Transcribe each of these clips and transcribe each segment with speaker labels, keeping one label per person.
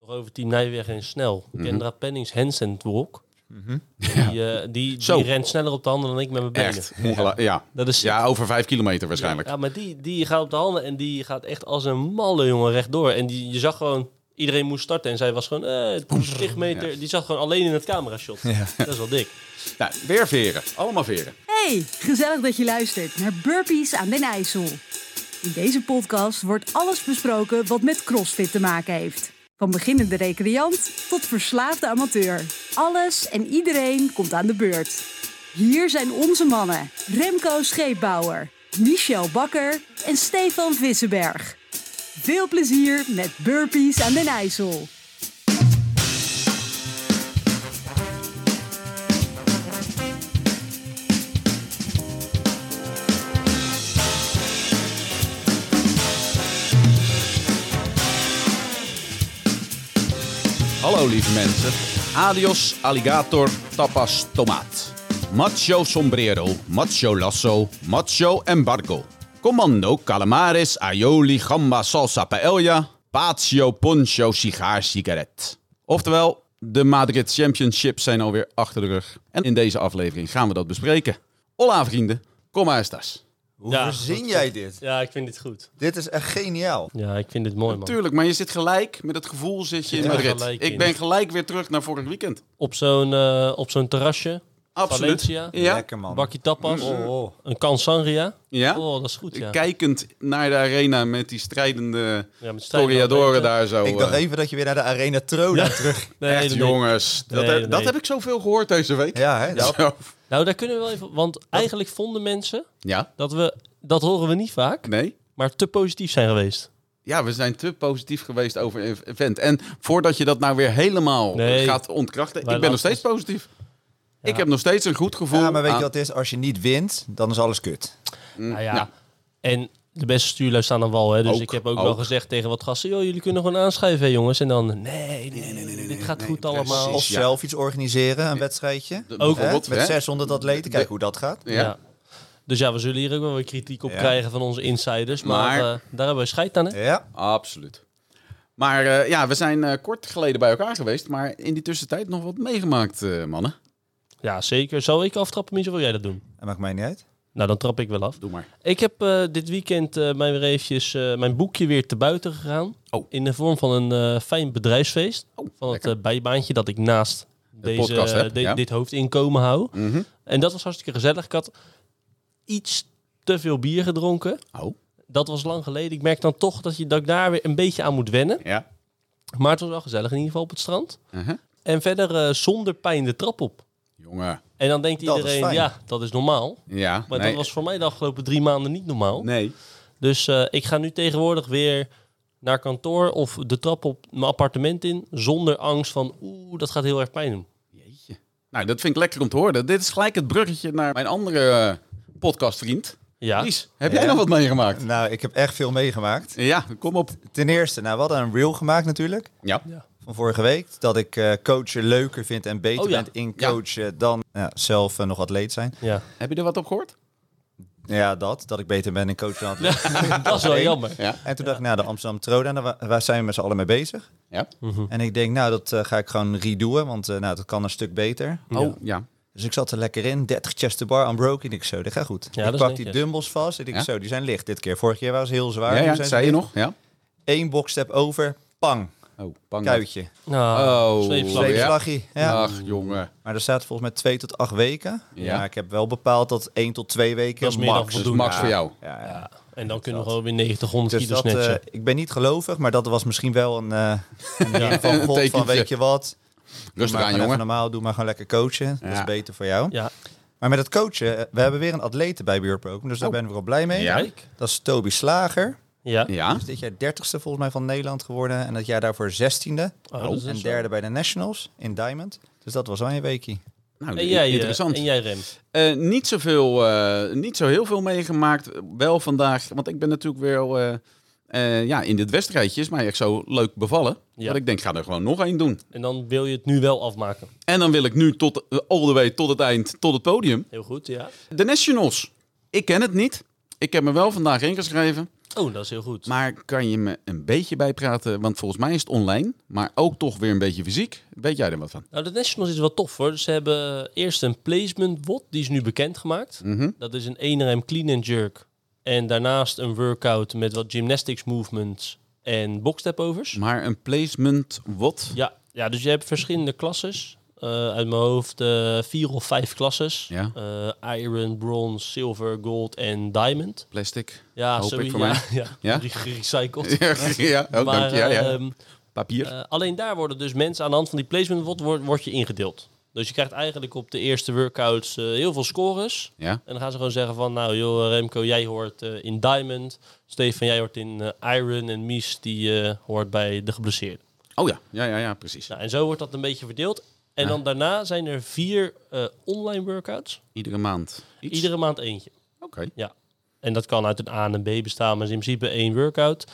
Speaker 1: Nog over Team Nijweg en snel.
Speaker 2: Mhm.
Speaker 1: Kendra Pennings Hansen Walk. Die, eh, die,
Speaker 2: Zo.
Speaker 1: die rent sneller op de handen dan ik met mijn benen.
Speaker 2: Echt. Ongela- ja.
Speaker 1: Dat is
Speaker 2: ja, over vijf kilometer waarschijnlijk.
Speaker 1: Ja, maar die, die gaat op de handen en die gaat echt als een malle jongen rechtdoor. En die, je zag gewoon, iedereen moest starten en zij was gewoon, eh, 10 meter. Die zat gewoon alleen in het camerashot. Dat is wel dik.
Speaker 2: Nou, weer veren. Allemaal veren.
Speaker 3: Hey, gezellig dat je luistert naar Burpees aan den IJssel. In deze podcast wordt alles besproken wat met CrossFit te maken heeft. Van beginnende recreant tot verslaafde amateur. Alles en iedereen komt aan de beurt. Hier zijn onze mannen Remco Scheepbouwer, Michel Bakker en Stefan Vissenberg. Veel plezier met Burpees aan den IJssel.
Speaker 2: Hallo lieve mensen. Adios, alligator, tapas, tomaat. Macho sombrero, macho lasso, macho embargo. Commando, calamares, aioli, gamba, salsa, paella, patio, poncho, sigaar, sigaret. Oftewel, de Madrid Championships zijn alweer achter de rug. En in deze aflevering gaan we dat bespreken. Hola vrienden, kom maar estas.
Speaker 4: Hoe
Speaker 1: Ja,
Speaker 4: verzin jij dit?
Speaker 1: Ja, ik vind dit goed.
Speaker 4: Dit is echt geniaal.
Speaker 1: Ja, ik vind dit mooi, man.
Speaker 2: Tuurlijk, maar je zit gelijk met het gevoel zit je in
Speaker 1: Ja,
Speaker 2: Madrid.
Speaker 1: gelijk
Speaker 2: Ik
Speaker 1: in.
Speaker 2: ben gelijk weer terug naar vorig weekend.
Speaker 1: Op zo'n eh, op zo'n terrasje,
Speaker 2: Absoluut.
Speaker 1: Valencia.
Speaker 2: Ja.
Speaker 4: Lekker man.
Speaker 1: bakje tapas,
Speaker 4: Oh, oh.
Speaker 1: een kan sangria.
Speaker 2: Mm. ja.
Speaker 1: Oh, dat is goed, ja.
Speaker 2: Kijkend naar de arena met die strijdende
Speaker 1: ja met stijl-
Speaker 2: Toriadoren daar zo.
Speaker 4: Ik dacht
Speaker 2: eh,
Speaker 4: even dat je weer naar de Arena Trona terug...
Speaker 1: Nee, nee,
Speaker 2: echt
Speaker 1: nee.
Speaker 2: jongens. Dat,
Speaker 1: Nee,
Speaker 2: heb-
Speaker 1: nee.
Speaker 2: dat heb ik zoveel gehoord deze week.
Speaker 4: Ja, hè? Dat-
Speaker 2: Zo.
Speaker 1: Nou, daar kunnen we wel even... Want eigenlijk vonden mensen
Speaker 2: ja.
Speaker 1: dat we... Dat horen we niet vaak,
Speaker 2: Nee.
Speaker 1: maar te positief zijn geweest.
Speaker 2: Ja, we zijn te positief geweest over een event. En voordat je dat nou weer helemaal
Speaker 1: Nee.
Speaker 2: eh, gaat ontkrachten, ik ben
Speaker 1: laten
Speaker 2: nog steeds positief. Ik heb nog steeds een goed gevoel.
Speaker 4: Ja, maar weet je
Speaker 2: aan-
Speaker 4: wat het is? Als je niet wint, dan is alles kut.
Speaker 1: Nou ja.
Speaker 2: ja.
Speaker 1: En de beste stuurlui staan aan wal. Hè? Dus
Speaker 2: Ook,
Speaker 1: ik heb ook,
Speaker 2: ook.
Speaker 1: wel gezegd tegen wat gasten: joh, jullie kunnen gewoon aanschrijven, hè, jongens. En dan: nee, nee, nee, dit gaat goed allemaal.
Speaker 2: precies.
Speaker 4: Of
Speaker 2: Ja.
Speaker 4: zelf iets organiseren, een wedstrijdje.
Speaker 2: De-
Speaker 1: Ook.
Speaker 4: Hè?
Speaker 2: bijvoorbeeld,
Speaker 4: Met
Speaker 2: hè?
Speaker 4: 600 atleten, kijk hoe dat gaat.
Speaker 1: Ja. Dus ja, we zullen hier ook wel weer kritiek op
Speaker 4: Ja.
Speaker 1: krijgen van onze insiders. Maar,
Speaker 2: Maar-
Speaker 1: eh, daar hebben we scheid aan, hè?
Speaker 4: Ja,
Speaker 2: Absoluut. Maar eh, ja, we zijn eh, kort geleden bij elkaar geweest, maar in die tussentijd nog wat meegemaakt, eh, mannen.
Speaker 1: Ja, zeker. Zal ik aftrappen, Mies, of wil jij dat doen?
Speaker 4: dat maakt mij niet uit.
Speaker 1: Nou, dan trap ik wel af.
Speaker 2: Doe maar.
Speaker 1: Ik heb eh, dit weekend eh, mij weer eventjes, eh, mijn boekje weer te buiten gegaan.
Speaker 2: Oh.
Speaker 1: In de vorm van een eh, fijn bedrijfsfeest.
Speaker 2: Oh,
Speaker 1: van het
Speaker 2: lekker.
Speaker 1: eh, bijbaantje dat ik naast deze, eh,
Speaker 2: podcast heb,
Speaker 1: de-
Speaker 2: ja.
Speaker 1: dit hoofdinkomen hou.
Speaker 2: Mhm.
Speaker 1: En dat was hartstikke gezellig. Ik had iets te veel bier gedronken.
Speaker 2: Oh,
Speaker 1: Dat was lang geleden. Ik merk dan toch dat, je, dat ik daar weer een beetje aan moet wennen.
Speaker 2: ja.
Speaker 1: Maar het was wel gezellig in ieder geval op het strand.
Speaker 2: Uh-huh.
Speaker 1: En verder eh, zonder pijn de trap op.
Speaker 2: Jongen.
Speaker 1: En dan denkt
Speaker 4: Dat is
Speaker 1: iedereen,
Speaker 4: fijn.
Speaker 1: ja, dat is normaal.
Speaker 2: Ja.
Speaker 1: Maar
Speaker 2: nee.
Speaker 1: dat was voor mij de afgelopen drie maanden niet normaal.
Speaker 2: Nee.
Speaker 1: Dus eh, ik ga nu tegenwoordig weer naar kantoor of de trap op mijn appartement in. Zonder angst van, oeh, dat gaat heel erg pijn doen.
Speaker 2: Jeetje. Nou, dat vind ik lekker om te horen. Dit is gelijk het bruggetje naar mijn andere eh, podcastvriend.
Speaker 1: Ja,
Speaker 2: Ries, heb
Speaker 4: Ja.
Speaker 2: jij nog wat meegemaakt?
Speaker 4: Nou, ik heb echt veel meegemaakt.
Speaker 2: Ja, kom op.
Speaker 4: Ten eerste, nou, we hadden een reel gemaakt natuurlijk.
Speaker 2: Ja.
Speaker 4: Van vorige week. Dat ik eh, coachen leuker vind en beter
Speaker 1: Oh, ja.
Speaker 4: bent in
Speaker 2: Ja.
Speaker 4: coachen dan ja, zelf eh, nog atleet zijn.
Speaker 1: ja.
Speaker 2: Heb je er wat op gehoord?
Speaker 4: Ja, dat. Dat ik beter ben in coachen dan atleet.
Speaker 1: dat is wel jammer.
Speaker 2: Ja.
Speaker 4: En toen dacht ik, nou, de Amsterdam Troda, daar wa- waar zijn we met z'n allen mee bezig?
Speaker 2: Ja.
Speaker 1: Mhm.
Speaker 4: En ik denk, nou, dat eh, ga ik gewoon redoen, want eh, nou, dat kan een stuk beter.
Speaker 2: Oh, ja.
Speaker 4: Dus ik zat er lekker in, 30 chest to bar, unbroken. Ik denk, zo, dat gaat goed.
Speaker 1: Ja, dat
Speaker 4: ik
Speaker 1: is
Speaker 4: pak
Speaker 1: netjes.
Speaker 4: die dumbbells vast. Ik denk,
Speaker 2: Ja.
Speaker 4: zo, die zijn licht dit keer. Vorig jaar waren ze heel zwaar.
Speaker 2: Ja,
Speaker 4: nu
Speaker 2: ja,
Speaker 4: zijn
Speaker 2: dat
Speaker 4: ze
Speaker 2: zei je
Speaker 4: licht.
Speaker 2: nog. Ja.
Speaker 4: Eén boxstep over, pang,
Speaker 2: Oh, bang.
Speaker 4: kuitje.
Speaker 1: Nou,
Speaker 2: Oh,
Speaker 1: zweepslag.
Speaker 2: ja.
Speaker 4: Zweepslagje. Ja.
Speaker 2: Ach, jongen.
Speaker 4: Maar er staat volgens mij twee tot acht weken.
Speaker 2: Ja.
Speaker 4: Ja. ik heb wel bepaald dat één tot twee weken
Speaker 1: Dat is meer dan
Speaker 4: max.
Speaker 2: Dus
Speaker 1: Voldoende.
Speaker 2: Max voor jou.
Speaker 4: Ja, ja.
Speaker 1: Ja, en dan kunnen we gewoon weer 900
Speaker 4: Dus
Speaker 1: kilo
Speaker 4: dat, eh,
Speaker 1: snatchen.
Speaker 4: ik ben niet gelovig, maar dat was misschien wel een, eh
Speaker 1: ja.
Speaker 4: van God
Speaker 2: tekentje.
Speaker 4: van weet je wat.
Speaker 2: Rustig
Speaker 4: maar
Speaker 2: aan,
Speaker 4: Even
Speaker 2: jongen.
Speaker 4: normaal, doe maar gewoon lekker coachen. Dat
Speaker 2: Ja.
Speaker 4: is beter voor jou.
Speaker 1: ja,
Speaker 4: Maar met het coachen, eh, we hebben weer een atlete bij Buurproken. Dus daar ben ik wel blij mee.
Speaker 2: Ja.
Speaker 1: Oh. kijk.
Speaker 4: Dat is Toby Slager.
Speaker 1: Ja,
Speaker 2: Ja.
Speaker 4: Dus dit jaar dertigste volgens mij van Nederland geworden. En dat jaar daarvoor zestiende.
Speaker 1: Oh, dat is
Speaker 4: en
Speaker 1: zo.
Speaker 4: derde bij de Nationals in Diamond. Dus dat was wel een weekie.
Speaker 2: Nou,
Speaker 1: En jij, eh,
Speaker 2: interessant.
Speaker 1: En jij rem.
Speaker 2: Eh, niet, zoveel, eh, niet zo heel veel meegemaakt. Wel vandaag, want ik ben natuurlijk weer eh, eh, ja, in dit wedstrijdje. Is mij echt zo leuk bevallen.
Speaker 1: Ja.
Speaker 2: Dat ik denk, ga er gewoon nog één doen.
Speaker 1: En dan wil je het nu wel afmaken.
Speaker 2: En dan wil ik nu tot, eh, all the way tot het eind, tot het podium.
Speaker 1: Heel goed, ja.
Speaker 2: De Nationals. Ik ken het niet. Ik heb me wel vandaag ingeschreven.
Speaker 1: Oh, dat is heel goed.
Speaker 2: Maar kan je me een beetje bijpraten? Want volgens mij is het online, maar ook toch weer een beetje fysiek. Weet jij er wat van?
Speaker 1: Nou, de Nationals is wel tof hoor. Dus Ze hebben eerst een placement WOD, die is nu bekendgemaakt. Dat is een eenrem clean and jerk. En daarnaast een workout met wat gymnastics movements en boxstepovers.
Speaker 2: Maar een placement wat?
Speaker 1: Ja, ja, dus je hebt verschillende klasses. Eh, uit mijn hoofd eh, vier of vijf klasses.
Speaker 2: Ja.
Speaker 1: Eh, iron, bronze, silver, gold en diamond.
Speaker 2: Plastic.
Speaker 1: Ja,
Speaker 2: Hoop
Speaker 1: zo,
Speaker 2: ik voor
Speaker 1: ja,
Speaker 2: mij.
Speaker 1: ja,
Speaker 2: Ja?
Speaker 1: die gerecycled.
Speaker 2: ja, ook
Speaker 1: Maar,
Speaker 2: dank je. Ja, ja.
Speaker 1: ehm,
Speaker 2: Papier.
Speaker 1: eh, alleen daar worden dus mensen aan de hand van die placement word, word, word je ingedeeld. Dus je krijgt eigenlijk op de eerste workouts eh, heel veel scores.
Speaker 2: ja.
Speaker 1: En dan gaan ze gewoon zeggen van, nou joh Remco, jij hoort eh, in Diamond. Stefan, jij hoort in eh, Iron. En Mies, die eh, hoort bij de geblesseerden.
Speaker 2: Oh ja, ja, ja, ja precies.
Speaker 1: Nou, en zo wordt dat een beetje verdeeld. En dan daarna zijn er vier eh, online workouts.
Speaker 2: Iedere maand. Iets?
Speaker 1: Iedere maand eentje.
Speaker 2: Oké.
Speaker 1: Ja. En dat kan uit een A en een B bestaan, maar is in principe één workout.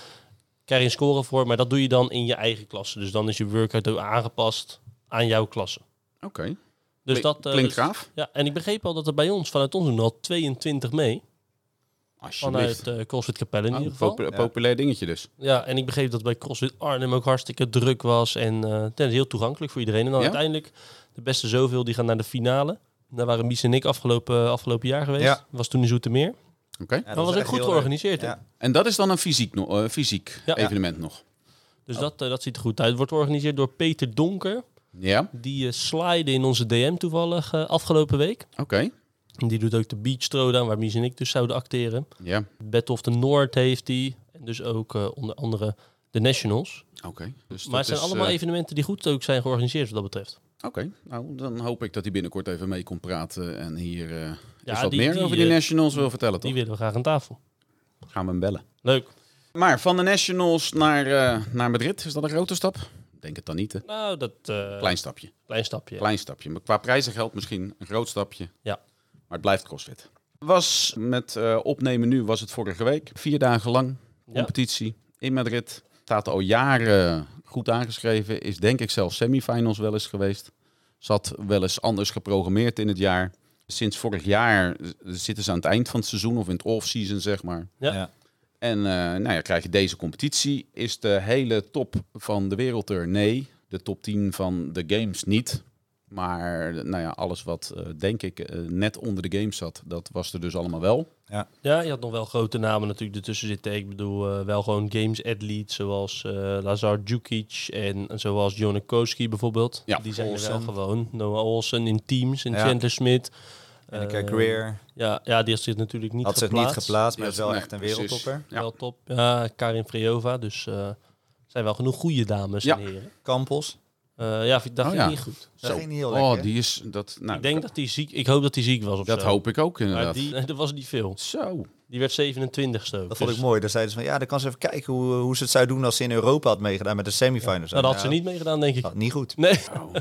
Speaker 1: Krijg je een score voor, maar dat doe je dan in je eigen klasse. Dus dan is je workout ook aangepast aan jouw klasse.
Speaker 2: Oké.
Speaker 1: Dus
Speaker 2: Klink-
Speaker 1: dat, eh,
Speaker 2: klinkt
Speaker 1: dus-
Speaker 2: gaaf.
Speaker 1: Ja, en ik begreep al dat er bij ons, vanuit ons doen er al 22 mee.
Speaker 2: Alsjeblieft.
Speaker 1: Vanuit eh CrossFit Capelle in
Speaker 2: Oh,
Speaker 1: ieder geval.
Speaker 2: popu- populair dingetje dus.
Speaker 1: Ja, en ik begreep dat bij CrossFit Arnhem ook hartstikke druk was. En eh, het is heel toegankelijk voor iedereen. En dan
Speaker 2: Ja?
Speaker 1: uiteindelijk, de beste zoveel, die gaan naar de finale. Daar waren Mies en ik afgelopen, eh, afgelopen jaar geweest.
Speaker 4: Ja.
Speaker 1: Was toen in Zoetermeer.
Speaker 2: Oké.
Speaker 4: Ja,
Speaker 1: dat Oh, was ook
Speaker 4: echt
Speaker 1: goed
Speaker 4: heel
Speaker 1: georganiseerd.
Speaker 4: leuk.
Speaker 1: hè?
Speaker 4: Ja.
Speaker 2: En dat is dan een fysiek, no- eh, fysiek
Speaker 1: Ja.
Speaker 2: evenement nog.
Speaker 1: Dus
Speaker 2: Oh.
Speaker 1: dat, eh, dat ziet er goed uit. Het wordt georganiseerd door Peter Donker.
Speaker 2: Ja,
Speaker 1: Die eh slide in onze DM toevallig eh, afgelopen week.
Speaker 2: oké.
Speaker 1: En Die doet ook de Beach Throwdown, waar Mies en ik dus zouden acteren.
Speaker 2: Ja,
Speaker 1: Battle of the North heeft hij. En dus ook eh, onder andere de Nationals.
Speaker 2: oké. Dus
Speaker 1: maar
Speaker 2: dat
Speaker 1: het zijn
Speaker 2: is,
Speaker 1: allemaal
Speaker 2: eh,
Speaker 1: evenementen die goed ook zijn georganiseerd wat dat betreft.
Speaker 2: Oké, nou dan hoop ik dat hij binnenkort even mee komt praten en hier eh is
Speaker 1: Ja,
Speaker 2: wat
Speaker 1: die-
Speaker 2: meer
Speaker 1: die,
Speaker 2: over die
Speaker 1: eh,
Speaker 2: Nationals wil vertellen, toch?
Speaker 1: Die willen we graag aan tafel.
Speaker 2: Gaan we hem bellen.
Speaker 1: Leuk.
Speaker 2: Maar van de Nationals naar, eh, naar Madrid, is dat een grote stap? Ik Denk het dan niet, hè?
Speaker 1: Nou, dat eh, klein.
Speaker 2: Klein stapje,
Speaker 1: stapje.
Speaker 2: klein stapje. Maar qua prijzen geldt misschien een groot stapje,
Speaker 1: Ja.
Speaker 2: maar het blijft CrossFit. Was met eh, opnemen nu, was het vorige week. Vier dagen lang, competitie in Madrid. Staat al jaren goed aangeschreven. Is denk ik zelfs semifinals wel eens geweest. Zat wel eens anders geprogrammeerd in het jaar. Sinds vorig jaar eh, zitten ze aan het eind van het seizoen of in het off-season, zeg maar.
Speaker 1: Ja.
Speaker 4: Ja.
Speaker 2: En eh, nou ja, krijg je deze competitie. Is de hele top van de wereld er? Nee. De top 10 van de games niet. Maar nou ja, alles wat eh, denk ik eh, net onder de games zat, dat was er dus allemaal wel.
Speaker 1: Ja, je had nog wel grote namen natuurlijk ertussen zitten. Ik bedoel, eh, wel gewoon games atleet zoals eh, Lazar Djukic en zoals Jonne Koski bijvoorbeeld.
Speaker 2: Ja,
Speaker 1: Die zijn er wel
Speaker 4: Olsen.
Speaker 1: gewoon. Noah Olsen in teams en
Speaker 4: Ja.
Speaker 1: Chandler Smit.
Speaker 4: En ik
Speaker 1: Eh,
Speaker 4: Career
Speaker 1: Ja, ja, die had zich natuurlijk niet
Speaker 4: had zich
Speaker 1: geplaatst.
Speaker 4: niet geplaatst, maar is wel
Speaker 2: Nee,
Speaker 4: echt een
Speaker 2: precies.
Speaker 4: wereldtopper.
Speaker 2: Ja.
Speaker 1: Wel top. Ja, Karin Frejova. Dus eh zijn wel genoeg goede dames
Speaker 2: Ja.
Speaker 1: en heren.
Speaker 4: Campos.
Speaker 1: Eh, ja, dat
Speaker 2: Oh,
Speaker 1: ging
Speaker 2: ja.
Speaker 1: niet goed.
Speaker 4: Dat
Speaker 2: Zo.
Speaker 4: ging niet heel
Speaker 2: oh,
Speaker 4: lekker. hè?
Speaker 2: die is dat. Nou,
Speaker 1: ik denk dat hij ziek... Ik hoop dat hij ziek was of
Speaker 2: dat
Speaker 1: zo.
Speaker 2: hoop ik ook
Speaker 1: Maar
Speaker 2: inderdaad.
Speaker 1: die, dat was niet veel.
Speaker 2: Zo.
Speaker 1: Die werd 27ste ook.
Speaker 4: Dat vond ik
Speaker 1: Dus-
Speaker 4: mooi. Daar zeiden ze van, ja, dan kan ze even kijken hoe, eh, hoe ze het zou doen als ze in Europa had meegedaan met de semifinals.
Speaker 1: Nou, dat had ze
Speaker 4: Ja,
Speaker 1: niet meegedaan, denk ik.
Speaker 2: Oh.
Speaker 4: dat- niet goed.
Speaker 1: Nee.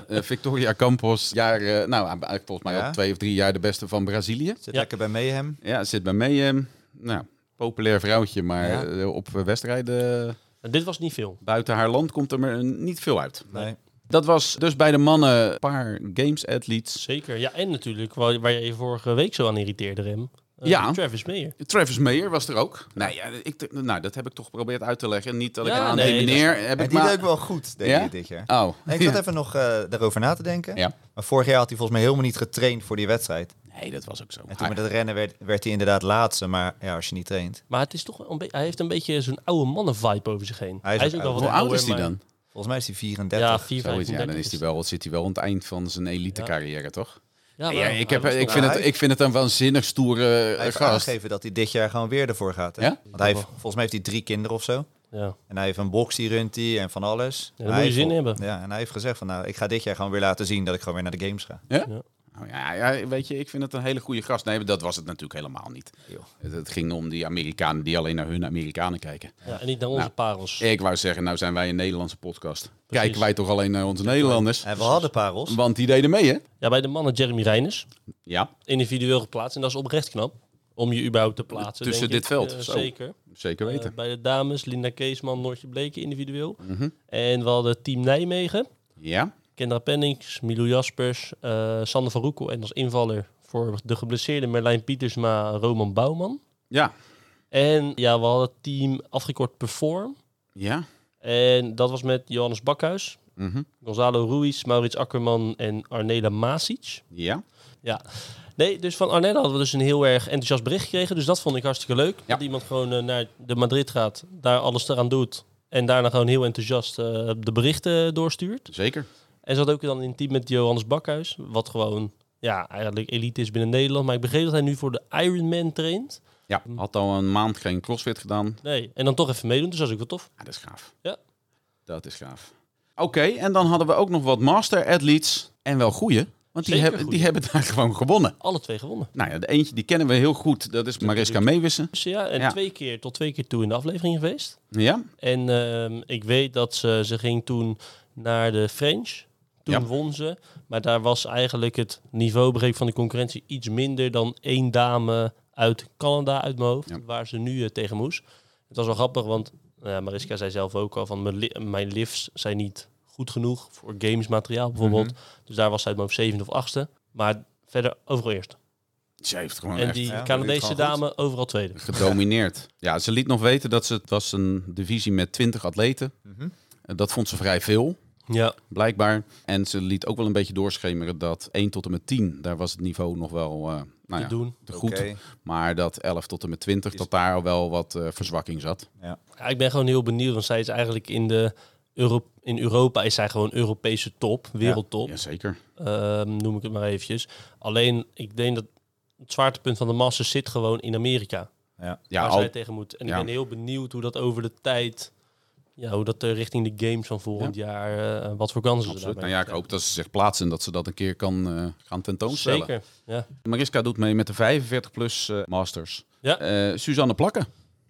Speaker 2: Eh, Victoria Campos, jaar, eh, nou eigenlijk volgens mij
Speaker 4: Ja.
Speaker 2: al twee of drie jaar de beste van Brazilië.
Speaker 4: Zit
Speaker 1: Ja.
Speaker 4: lekker bij Mayhem.
Speaker 2: Ja, zit bij mij. eh, nou, populair vrouwtje, maar
Speaker 4: Ja.
Speaker 2: eh, op wedstrijden eh,
Speaker 1: Nou, dit was niet veel.
Speaker 2: buiten haar land komt er maar eh, niet veel uit.
Speaker 4: Nee.
Speaker 2: Dat was dus bij de mannen een paar games athletes.
Speaker 1: Zeker. Ja, en natuurlijk, waar, waar je je vorige week zo aan irriteerde, Rem. Eh,
Speaker 2: Ja.
Speaker 1: Travis Meyer.
Speaker 2: Travis Mayer was er ook. Nee, ja, ik, nou, dat heb ik toch geprobeerd uit te leggen. Niet dat ik
Speaker 1: Ja,
Speaker 2: aan
Speaker 1: nee,
Speaker 2: die
Speaker 1: dat is-
Speaker 2: meneer heb
Speaker 4: En
Speaker 2: ik
Speaker 4: die
Speaker 2: maar...
Speaker 4: deed ook wel goed, denk
Speaker 2: Ja?
Speaker 4: ik, dit jaar.
Speaker 2: Oh,
Speaker 4: En ik zat even nog eh, daarover na te denken.
Speaker 2: ja.
Speaker 4: Maar vorig jaar had hij volgens mij helemaal niet getraind voor die wedstrijd.
Speaker 2: Nee, dat was ook zo. Ah,
Speaker 4: En toen
Speaker 2: Hij-
Speaker 4: met het rennen werd, werd hij inderdaad laatste. Maar ja, als je niet traint.
Speaker 1: Maar het is toch wel een be- hij heeft een beetje zo'n oude mannen-vibe over zich heen.
Speaker 4: Hij is ook oud.
Speaker 2: Hoe oud is hij
Speaker 1: maar-
Speaker 2: dan?
Speaker 4: Volgens mij is hij
Speaker 1: Ja,
Speaker 4: 34.
Speaker 1: 4,
Speaker 2: Zoiets, ja, dan is hij wel, zit hij wel aan het eind van zijn elite
Speaker 1: Ja.
Speaker 2: carrière, toch?
Speaker 1: Ja,
Speaker 2: Ja, ik, heb,
Speaker 1: hij was
Speaker 2: ik,
Speaker 1: toch-
Speaker 2: vind
Speaker 4: hij-
Speaker 2: het, ik vind het een waanzinnig stoere
Speaker 4: hij
Speaker 2: eh,
Speaker 4: heeft
Speaker 2: gast.
Speaker 4: aangegeven dat hij dit jaar gewoon weer ervoor gaat. Hè?
Speaker 2: Ja?
Speaker 4: Want hij heeft, volgens mij heeft hij drie kinderen of zo.
Speaker 1: ja.
Speaker 4: En hij heeft een box, die runt hij en van alles.
Speaker 1: dan
Speaker 4: En
Speaker 1: moet je
Speaker 4: hij
Speaker 1: zin
Speaker 4: heeft-
Speaker 1: hebben.
Speaker 4: Ja, en hij heeft gezegd van nou, ik ga dit jaar gewoon weer laten zien dat ik gewoon weer naar de games ga.
Speaker 2: Nou ja, ja, weet je, ik vind het een hele goede gast. Nee, maar dat was het natuurlijk helemaal niet.
Speaker 4: Joh.
Speaker 2: Het, het ging om die Amerikanen die alleen naar hun Amerikanen kijken.
Speaker 1: Ja, en niet naar onze
Speaker 2: Nou.
Speaker 1: parels.
Speaker 2: Ik wou zeggen, nou zijn wij een Nederlandse podcast. Kijken
Speaker 1: Precies.
Speaker 2: wij toch alleen naar onze Nederlanders?
Speaker 4: En we hadden parels.
Speaker 2: Want die deden mee, hè?
Speaker 1: Ja, bij de mannen Jeremy Reiners.
Speaker 2: Ja,
Speaker 1: Individueel geplaatst. En dat is oprecht knap. Om je überhaupt te plaatsen.
Speaker 2: Tussen
Speaker 1: denk
Speaker 2: dit
Speaker 1: ik.
Speaker 2: veld,
Speaker 1: Eh,
Speaker 2: zo.
Speaker 1: zeker.
Speaker 2: zeker weten.
Speaker 1: Eh, bij de dames Linda Keesman, Noortje Bleken individueel.
Speaker 2: Mhm.
Speaker 1: En we hadden Team Nijmegen.
Speaker 2: ja,
Speaker 1: Kendra Pennings, Milou Jaspers, eh, Sander van Roekel en als invaller voor de geblesseerde Merlijn Pietersma, Roman Bouwman.
Speaker 2: ja.
Speaker 1: En ja, we hadden het team afgekort Perform.
Speaker 2: Ja.
Speaker 1: En dat was met Johannes Bakhuis,
Speaker 2: Mhm.
Speaker 1: Gonzalo Ruiz, Maurits Akkerman en Arnela Masic.
Speaker 2: Ja.
Speaker 1: Ja. Nee, dus van Arnella hadden we dus een heel erg enthousiast bericht gekregen. Dus dat vond ik hartstikke leuk. Dat iemand gewoon eh, naar de Madrid gaat, daar alles eraan doet. En daarna gewoon heel enthousiast eh, de berichten eh, doorstuurt.
Speaker 2: Zeker.
Speaker 1: En ze had ook dan in het team met Johannes Bakhuis. Wat gewoon, ja, eigenlijk elite is binnen Nederland. Maar ik begreep dat hij nu voor de Ironman traint.
Speaker 2: Ja. Had al een maand geen crossfit gedaan.
Speaker 1: Nee, en dan toch even meedoen. Dus dat is ook wel tof.
Speaker 2: Ah, dat is gaaf.
Speaker 1: Ja.
Speaker 2: Dat is gaaf. Oké, en dan hadden we ook nog wat master athletes. En wel goeie. Want die,
Speaker 1: Zeker
Speaker 2: hebben, die
Speaker 1: goeie.
Speaker 2: hebben daar gewoon gewonnen.
Speaker 1: Alle twee gewonnen.
Speaker 2: Nou ja, de eentje die kennen we heel goed. Dat is Mariska Meewissen.
Speaker 1: Dus ja, en
Speaker 2: Ja.
Speaker 1: twee keer tot twee keer toe in de aflevering geweest.
Speaker 2: Ja.
Speaker 1: En ehm, ik weet dat ze, ze ging toen naar de French. Toen
Speaker 2: Ja.
Speaker 1: won ze. Maar daar was eigenlijk het niveaubreek van de concurrentie iets minder dan één dame uit Canada uit mijn hoofd.
Speaker 2: Ja.
Speaker 1: Waar ze nu eh, tegen moest. Het was wel grappig, want nou ja, Mariska zei zelf ook al van mijn, li- mijn lifts zijn niet goed genoeg voor gamesmateriaal bijvoorbeeld.
Speaker 2: Mhm.
Speaker 1: Dus daar was zij uit mijn hoofd zevende of achtste. Maar verder overal eerst.
Speaker 2: Ze heeft gewoon
Speaker 1: en
Speaker 2: Oh, echt
Speaker 1: die
Speaker 4: ja,
Speaker 1: Canadese
Speaker 4: dat doet gewoon
Speaker 1: dame overal tweede.
Speaker 2: gedomineerd. Ja, ze liet nog weten dat ze, het was een divisie met 20 atleten.
Speaker 1: Mhm.
Speaker 2: En Dat vond ze vrij veel.
Speaker 1: Ja,
Speaker 2: Blijkbaar. En ze liet ook wel een beetje doorschemeren dat 1 tot en met 10, daar was het niveau nog wel eh, nou
Speaker 1: te
Speaker 2: ja,
Speaker 1: doen.
Speaker 2: te goed.
Speaker 4: Oké.
Speaker 2: Maar dat 11 tot en met 20, dat daar wel wat eh, verzwakking zat.
Speaker 4: Ja.
Speaker 1: Ja, ik ben gewoon heel benieuwd, want zij is eigenlijk in de Euro in Europa is zij gewoon Europese top, wereldtop,
Speaker 2: Jazeker.
Speaker 1: ehm, noem ik het maar eventjes. Alleen, ik denk dat het zwaartepunt van de massa zit gewoon in Amerika,
Speaker 4: Ja.
Speaker 2: Ja,
Speaker 1: waar
Speaker 2: al-
Speaker 1: zij tegen moet. En
Speaker 2: ja.
Speaker 1: ik ben heel benieuwd hoe dat over de tijd, ja, hoe dat eh, richting de games van volgend jaar, eh, wat voor kansen ze
Speaker 2: absoluut.
Speaker 1: daarbij
Speaker 2: Nou ja, ik hoop dat ze zich plaatsen en dat ze dat een keer kan eh, gaan tentoonstellen.
Speaker 1: Zeker, ja.
Speaker 2: Mariska doet mee met de 45-plus Masters.
Speaker 1: Ja.
Speaker 2: Eh, Suzanne Plakken,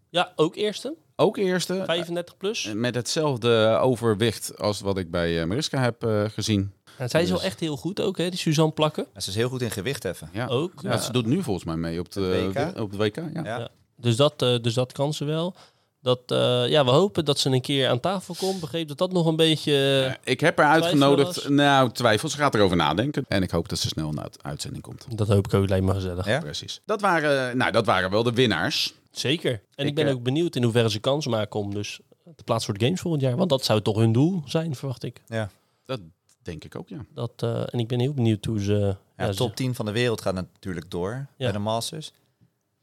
Speaker 1: Ja, ook eerste,
Speaker 2: ook eerste.
Speaker 1: 35 plus.
Speaker 2: Eh, Met hetzelfde overwicht als wat ik bij eh, Mariska heb eh, gezien.
Speaker 1: Ja, zij is wel
Speaker 2: dus-
Speaker 1: echt heel goed ook, hè, die Suzanne Plakken.
Speaker 4: En ze is dus heel goed in gewicht heffen.
Speaker 2: Ja.
Speaker 1: Ook,
Speaker 2: Ja, Ze doet nu volgens mij mee op de eh,
Speaker 4: Het WK?
Speaker 2: Op de WK ja.
Speaker 4: Ja.
Speaker 1: Oh. Ja. Dus dat, eh, dus dat kan ze wel. Dat, eh, ja, we hopen dat ze een keer aan tafel komt. Begreep dat dat nog een beetje... eh,
Speaker 2: Eh, Ik heb haar
Speaker 1: Twijfel
Speaker 2: uitgenodigd.
Speaker 1: was?
Speaker 2: Nou, twijfels. Ze gaat erover nadenken. En ik hoop dat ze snel een uit- uitzending komt.
Speaker 1: Dat hoop ik ook, lijkt me gezellig.
Speaker 4: Ja?
Speaker 2: Precies. Dat waren, nou, dat waren wel de winnaars.
Speaker 1: Zeker. En ik,
Speaker 2: Ik,
Speaker 1: ben
Speaker 2: eh,
Speaker 1: ook benieuwd in hoeverre ze kans maken om dus te plaatsen voor de Games volgend jaar. Want dat zou toch hun doel zijn, verwacht ik.
Speaker 4: Ja.
Speaker 2: Dat denk ik ook, ja.
Speaker 1: Dat, eh, en ik ben heel benieuwd hoe ze...
Speaker 4: Ja,
Speaker 1: ja,
Speaker 4: top
Speaker 1: ze-
Speaker 4: 10 van de wereld gaat natuurlijk door bij de Masters.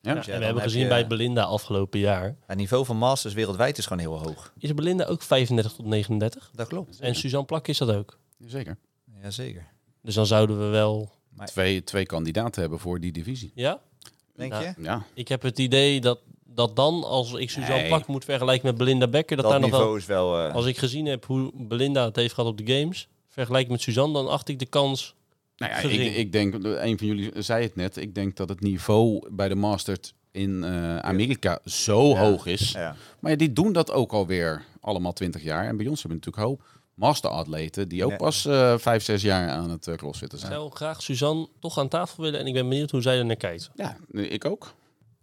Speaker 2: Ja.
Speaker 1: ja,
Speaker 4: ja,
Speaker 1: en
Speaker 4: dan
Speaker 1: we hebben
Speaker 4: heb
Speaker 1: gezien
Speaker 4: je-
Speaker 1: bij Belinda afgelopen jaar.
Speaker 4: Het niveau van Masters wereldwijd is gewoon heel hoog.
Speaker 1: Is Belinda ook 35 tot 39?
Speaker 4: Dat klopt.
Speaker 1: En Suzanne Plak is dat ook.
Speaker 2: Zeker.
Speaker 4: Jazeker.
Speaker 1: Dus dan zouden we wel...
Speaker 2: Twee, twee kandidaten hebben voor die divisie.
Speaker 1: Ja?
Speaker 4: Denk
Speaker 1: Ja.
Speaker 4: je?
Speaker 2: Ja,
Speaker 1: Ik heb het idee dat, dat dan, als ik Suzanne
Speaker 2: Nee.
Speaker 1: Plak moet vergelijken met Belinda Becker... Dat,
Speaker 4: Dat
Speaker 1: daar nog wel
Speaker 4: niveau is wel... eh,
Speaker 1: Als ik gezien heb hoe Belinda het heeft gehad op de games, vergelijk met Suzanne, dan acht ik de kans.
Speaker 2: Nou ja,
Speaker 1: Gering.
Speaker 2: ik, ik denk, een van jullie zei het net, ik denk dat het niveau bij de Masters in eh, Amerika zo hoog is.
Speaker 4: ja.
Speaker 2: Maar ja, die doen dat ook alweer allemaal 20 jaar. En bij ons hebben we natuurlijk hoop masteratleten die ook
Speaker 4: Ja.
Speaker 2: pas eh 5, 6 jaar aan het eh, crossfitten
Speaker 1: Ik
Speaker 2: zijn.
Speaker 1: zou graag Suzanne toch aan tafel willen en ik ben benieuwd hoe zij er naar kijkt.
Speaker 2: Ja, ik ook.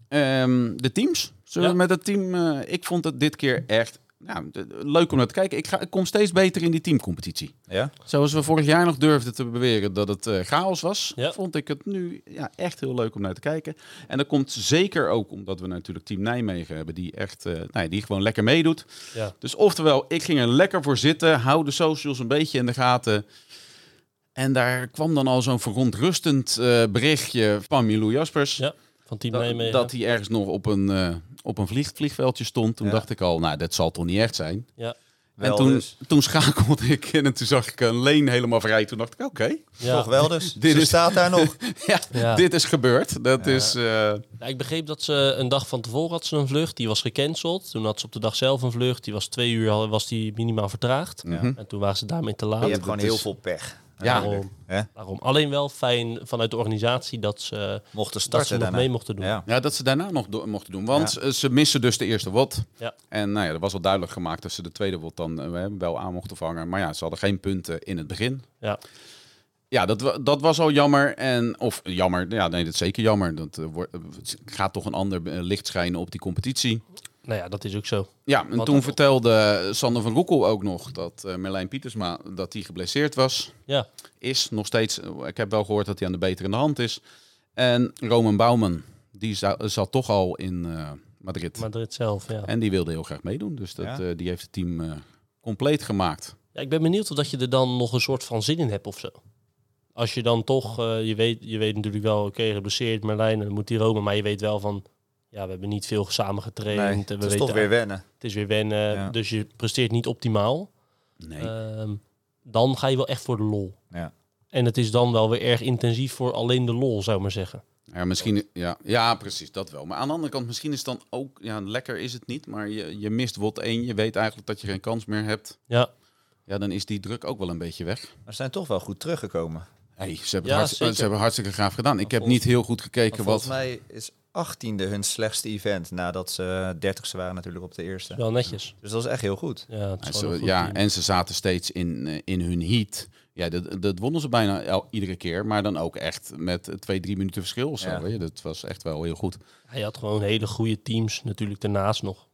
Speaker 2: Ehm, de teams. Zullen we
Speaker 1: Ja.
Speaker 2: met het team, eh, ik vond het dit keer echt nou, de- de- leuk om naar te kijken. Ik, ga, ik kom steeds beter in die teamcompetitie.
Speaker 4: ja?
Speaker 2: Zoals we vorig jaar nog durfden te beweren dat het eh, chaos was,
Speaker 1: Ja.
Speaker 2: vond ik het nu ja, echt heel leuk om naar te kijken. En dat komt zeker ook omdat we natuurlijk Team Nijmegen hebben, die echt eh, nou, ja, die gewoon lekker meedoet.
Speaker 1: Ja.
Speaker 2: Dus oftewel, ik ging er lekker voor zitten, hou de socials een beetje in de gaten. En daar kwam dan al zo'n verontrustend eh, berichtje van Milou Jaspers.
Speaker 1: Ja, van Team
Speaker 2: Dat,
Speaker 1: Nijmegen.
Speaker 2: dat hij ergens nog op een, eh, op een vlieg, vliegveldje stond. Toen
Speaker 4: Ja.
Speaker 2: dacht ik al, nou, dat zal toch niet echt zijn.
Speaker 1: ja.
Speaker 4: Wel
Speaker 2: en toen,
Speaker 4: dus.
Speaker 2: toen schakelde ik in en toen zag ik een leen helemaal vrij. Toen dacht ik, oké,
Speaker 1: Ja.
Speaker 4: Toch wel dus.
Speaker 2: Dit
Speaker 4: Ze
Speaker 2: is-
Speaker 4: staat daar nog.
Speaker 2: ja,
Speaker 1: Ja.
Speaker 2: dit is gebeurd. Dat is... eh,
Speaker 1: Ja, ik begreep dat ze een dag van tevoren had ze een vlucht, die was gecanceld. Toen had ze op de dag zelf een vlucht, die was twee uur al- was die minimaal vertraagd.
Speaker 2: mhm.
Speaker 1: En toen waren ze daarmee te
Speaker 4: Je
Speaker 1: laat.
Speaker 4: hebt gewoon
Speaker 2: is-
Speaker 4: heel veel pech.
Speaker 2: ja.
Speaker 1: Daarom,
Speaker 4: Hè?
Speaker 1: daarom. Alleen wel fijn vanuit de organisatie dat ze, dat
Speaker 4: Mochten
Speaker 1: ze
Speaker 4: starten
Speaker 1: nog
Speaker 4: daarna.
Speaker 1: mee mochten doen.
Speaker 4: Ja.
Speaker 2: ja, dat ze daarna nog do- mochten doen. Want eh, ze missen dus de eerste WOT.
Speaker 1: Ja.
Speaker 2: En nou ja, er was al duidelijk gemaakt dat ze de tweede WOT dan eh, wel aan mochten vangen. Maar ja, ze hadden geen punten in het begin.
Speaker 1: Ja.
Speaker 2: Ja, dat, wa- dat was al jammer. En, of jammer, ja, nee, dat is zeker jammer. Dat eh, wordt- eh, het gaat toch een ander eh, licht schijnen op die competitie.
Speaker 1: Nou ja, dat is ook zo.
Speaker 2: Ja, en
Speaker 1: Wat
Speaker 2: toen
Speaker 1: ook.
Speaker 2: vertelde Sander van Roekel ook nog dat eh, Merlijn Pietersma dat hij geblesseerd was.
Speaker 1: Ja,
Speaker 2: Is nog steeds, eh, ik heb wel gehoord dat hij aan de betere hand is. En Roman Bouwman, die za- zat toch al in, eh, Madrid.
Speaker 1: Madrid zelf, ja.
Speaker 2: En die wilde heel graag meedoen. Dus dat,
Speaker 4: Ja.
Speaker 2: eh, die heeft het team eh, compleet gemaakt.
Speaker 1: Ja, ik ben benieuwd of dat je er dan nog een soort van zin in hebt of zo. Als je dan toch, eh, je, weet, je weet natuurlijk wel, oké, geblesseerd Merlijn, en dan moet die Rome, maar je weet wel van, ja, we hebben niet veel samen getraind.
Speaker 4: Nee,
Speaker 1: en we
Speaker 4: het is
Speaker 1: weten
Speaker 4: toch weer wennen.
Speaker 1: het is weer wennen,
Speaker 4: Ja.
Speaker 1: dus je presteert niet optimaal.
Speaker 2: Nee.
Speaker 1: Ehm, dan ga je wel echt voor de lol.
Speaker 4: Ja.
Speaker 1: En het is dan wel weer erg intensief voor alleen de lol, zou ik maar zeggen.
Speaker 2: Ja, misschien, ja, ja, precies, dat wel. Maar aan de andere kant, misschien is het dan ook... Ja, lekker is het niet, maar je, je mist WOT 1. Je weet eigenlijk dat je geen kans meer hebt.
Speaker 1: Ja,
Speaker 2: Ja, dan is die druk ook wel een beetje weg.
Speaker 4: Maar ze zijn toch wel goed teruggekomen.
Speaker 2: Hey, ze, hebben
Speaker 1: Ja,
Speaker 2: het hartst-
Speaker 1: zeker.
Speaker 2: ze hebben hartstikke gaaf gedaan. Ik heb
Speaker 1: volgens-
Speaker 2: niet heel goed gekeken
Speaker 4: Want
Speaker 2: wat...
Speaker 4: volgens mij is 18e hun slechtste event nadat ze 30ste waren natuurlijk op de eerste.
Speaker 1: wel netjes.
Speaker 4: Dus dat is echt heel goed.
Speaker 1: Ja, het
Speaker 2: En
Speaker 1: is
Speaker 2: ze-
Speaker 1: wel een goed
Speaker 2: ja,
Speaker 1: team.
Speaker 2: en ze zaten steeds in, eh, in hun heat. Ja, dat, dat wonnen ze bijna el- iedere keer. Maar dan ook echt met eh, twee, drie minuten verschil of zo.
Speaker 4: Ja.
Speaker 2: weet je. Dat was echt wel heel goed.
Speaker 1: Hij had gewoon hele goede teams natuurlijk daarnaast nog.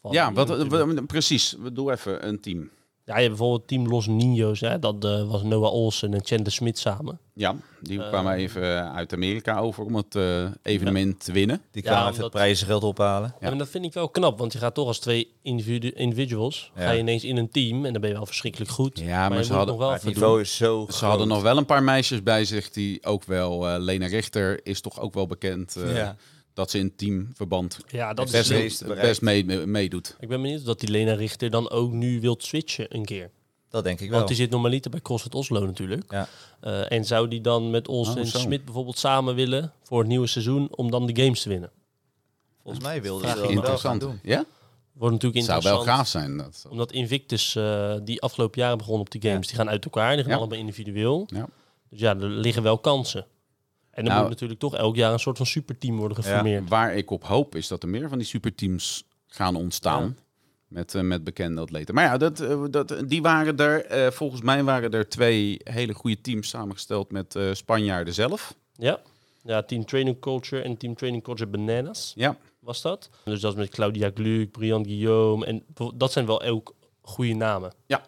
Speaker 1: Van-
Speaker 2: ja, wat, wat- precies. We doen even een team.
Speaker 1: Ja, je hebt bijvoorbeeld Team Los Niños. Hè? Dat eh, was Noah Olsen en Chandler Smit samen.
Speaker 2: Ja, die
Speaker 1: Eh.
Speaker 2: kwamen even eh, uit Amerika over om het eh, evenement te winnen.
Speaker 4: Die
Speaker 1: Ja,
Speaker 4: kwamen even
Speaker 1: omdat-
Speaker 4: het prijzengeld ophalen.
Speaker 1: En dat vind ik wel knap, want je gaat toch als twee individu individuals...
Speaker 4: Ja.
Speaker 1: ga je ineens in een team en dan ben je wel verschrikkelijk goed.
Speaker 2: Ja, maar
Speaker 1: je
Speaker 2: ze
Speaker 1: moet
Speaker 2: hadden-
Speaker 1: nog wel
Speaker 4: Maar het
Speaker 1: even
Speaker 4: niveau
Speaker 1: doen.
Speaker 4: is zo
Speaker 2: Ze hadden nog wel een paar meisjes bij zich die ook wel... eh, Lena Richter is toch ook wel bekend eh,
Speaker 4: Ja.
Speaker 2: dat ze in teamverband
Speaker 1: Ja, dat
Speaker 4: Best
Speaker 1: is leuk.
Speaker 4: leuk. meeste bereikt.
Speaker 2: best mee- mee- meedoet.
Speaker 1: Ik ben benieuwd dat die Lena Richter dan ook nu wilt switchen een keer.
Speaker 4: Dat denk ik wel.
Speaker 1: Want die zit normaliter bij CrossFit Oslo natuurlijk.
Speaker 4: Ja.
Speaker 1: Eh, en zou die dan met Olsen
Speaker 2: Oh,
Speaker 1: en
Speaker 2: zo.
Speaker 1: Smit bijvoorbeeld samen willen... voor het nieuwe seizoen om dan de games te winnen?
Speaker 4: Volgens mij wilden
Speaker 1: Vraag
Speaker 4: ze dat wel gaan
Speaker 2: Interessant.
Speaker 4: doen.
Speaker 2: Ja?
Speaker 1: Wordt natuurlijk
Speaker 2: Zou
Speaker 1: interessant.
Speaker 2: wel gaaf zijn. Dat,
Speaker 1: Omdat Invictus, eh, die afgelopen jaren begon op de games, die gaan uit elkaar. Die gaan
Speaker 2: Ja.
Speaker 1: allemaal individueel.
Speaker 2: Ja.
Speaker 1: Dus ja, er liggen wel kansen. En dan
Speaker 2: Nou-
Speaker 1: moet natuurlijk toch elk jaar een soort van superteam worden geformeerd.
Speaker 2: Waar ik op hoop is dat er meer van die superteams gaan ontstaan. Met, eh, met bekende atleten. Maar ja, dat, eh, dat, die waren er. eh, volgens mij waren er twee hele goede teams samengesteld met eh, Spanjaarden zelf.
Speaker 1: Ja. ja. Team Training Culture en Team Training Culture Bananas
Speaker 2: Ja,
Speaker 1: was dat. Dus dat is met Claudia Gluck, Brian Guillaume. En bijvo- dat zijn wel ook goede namen.
Speaker 2: Ja.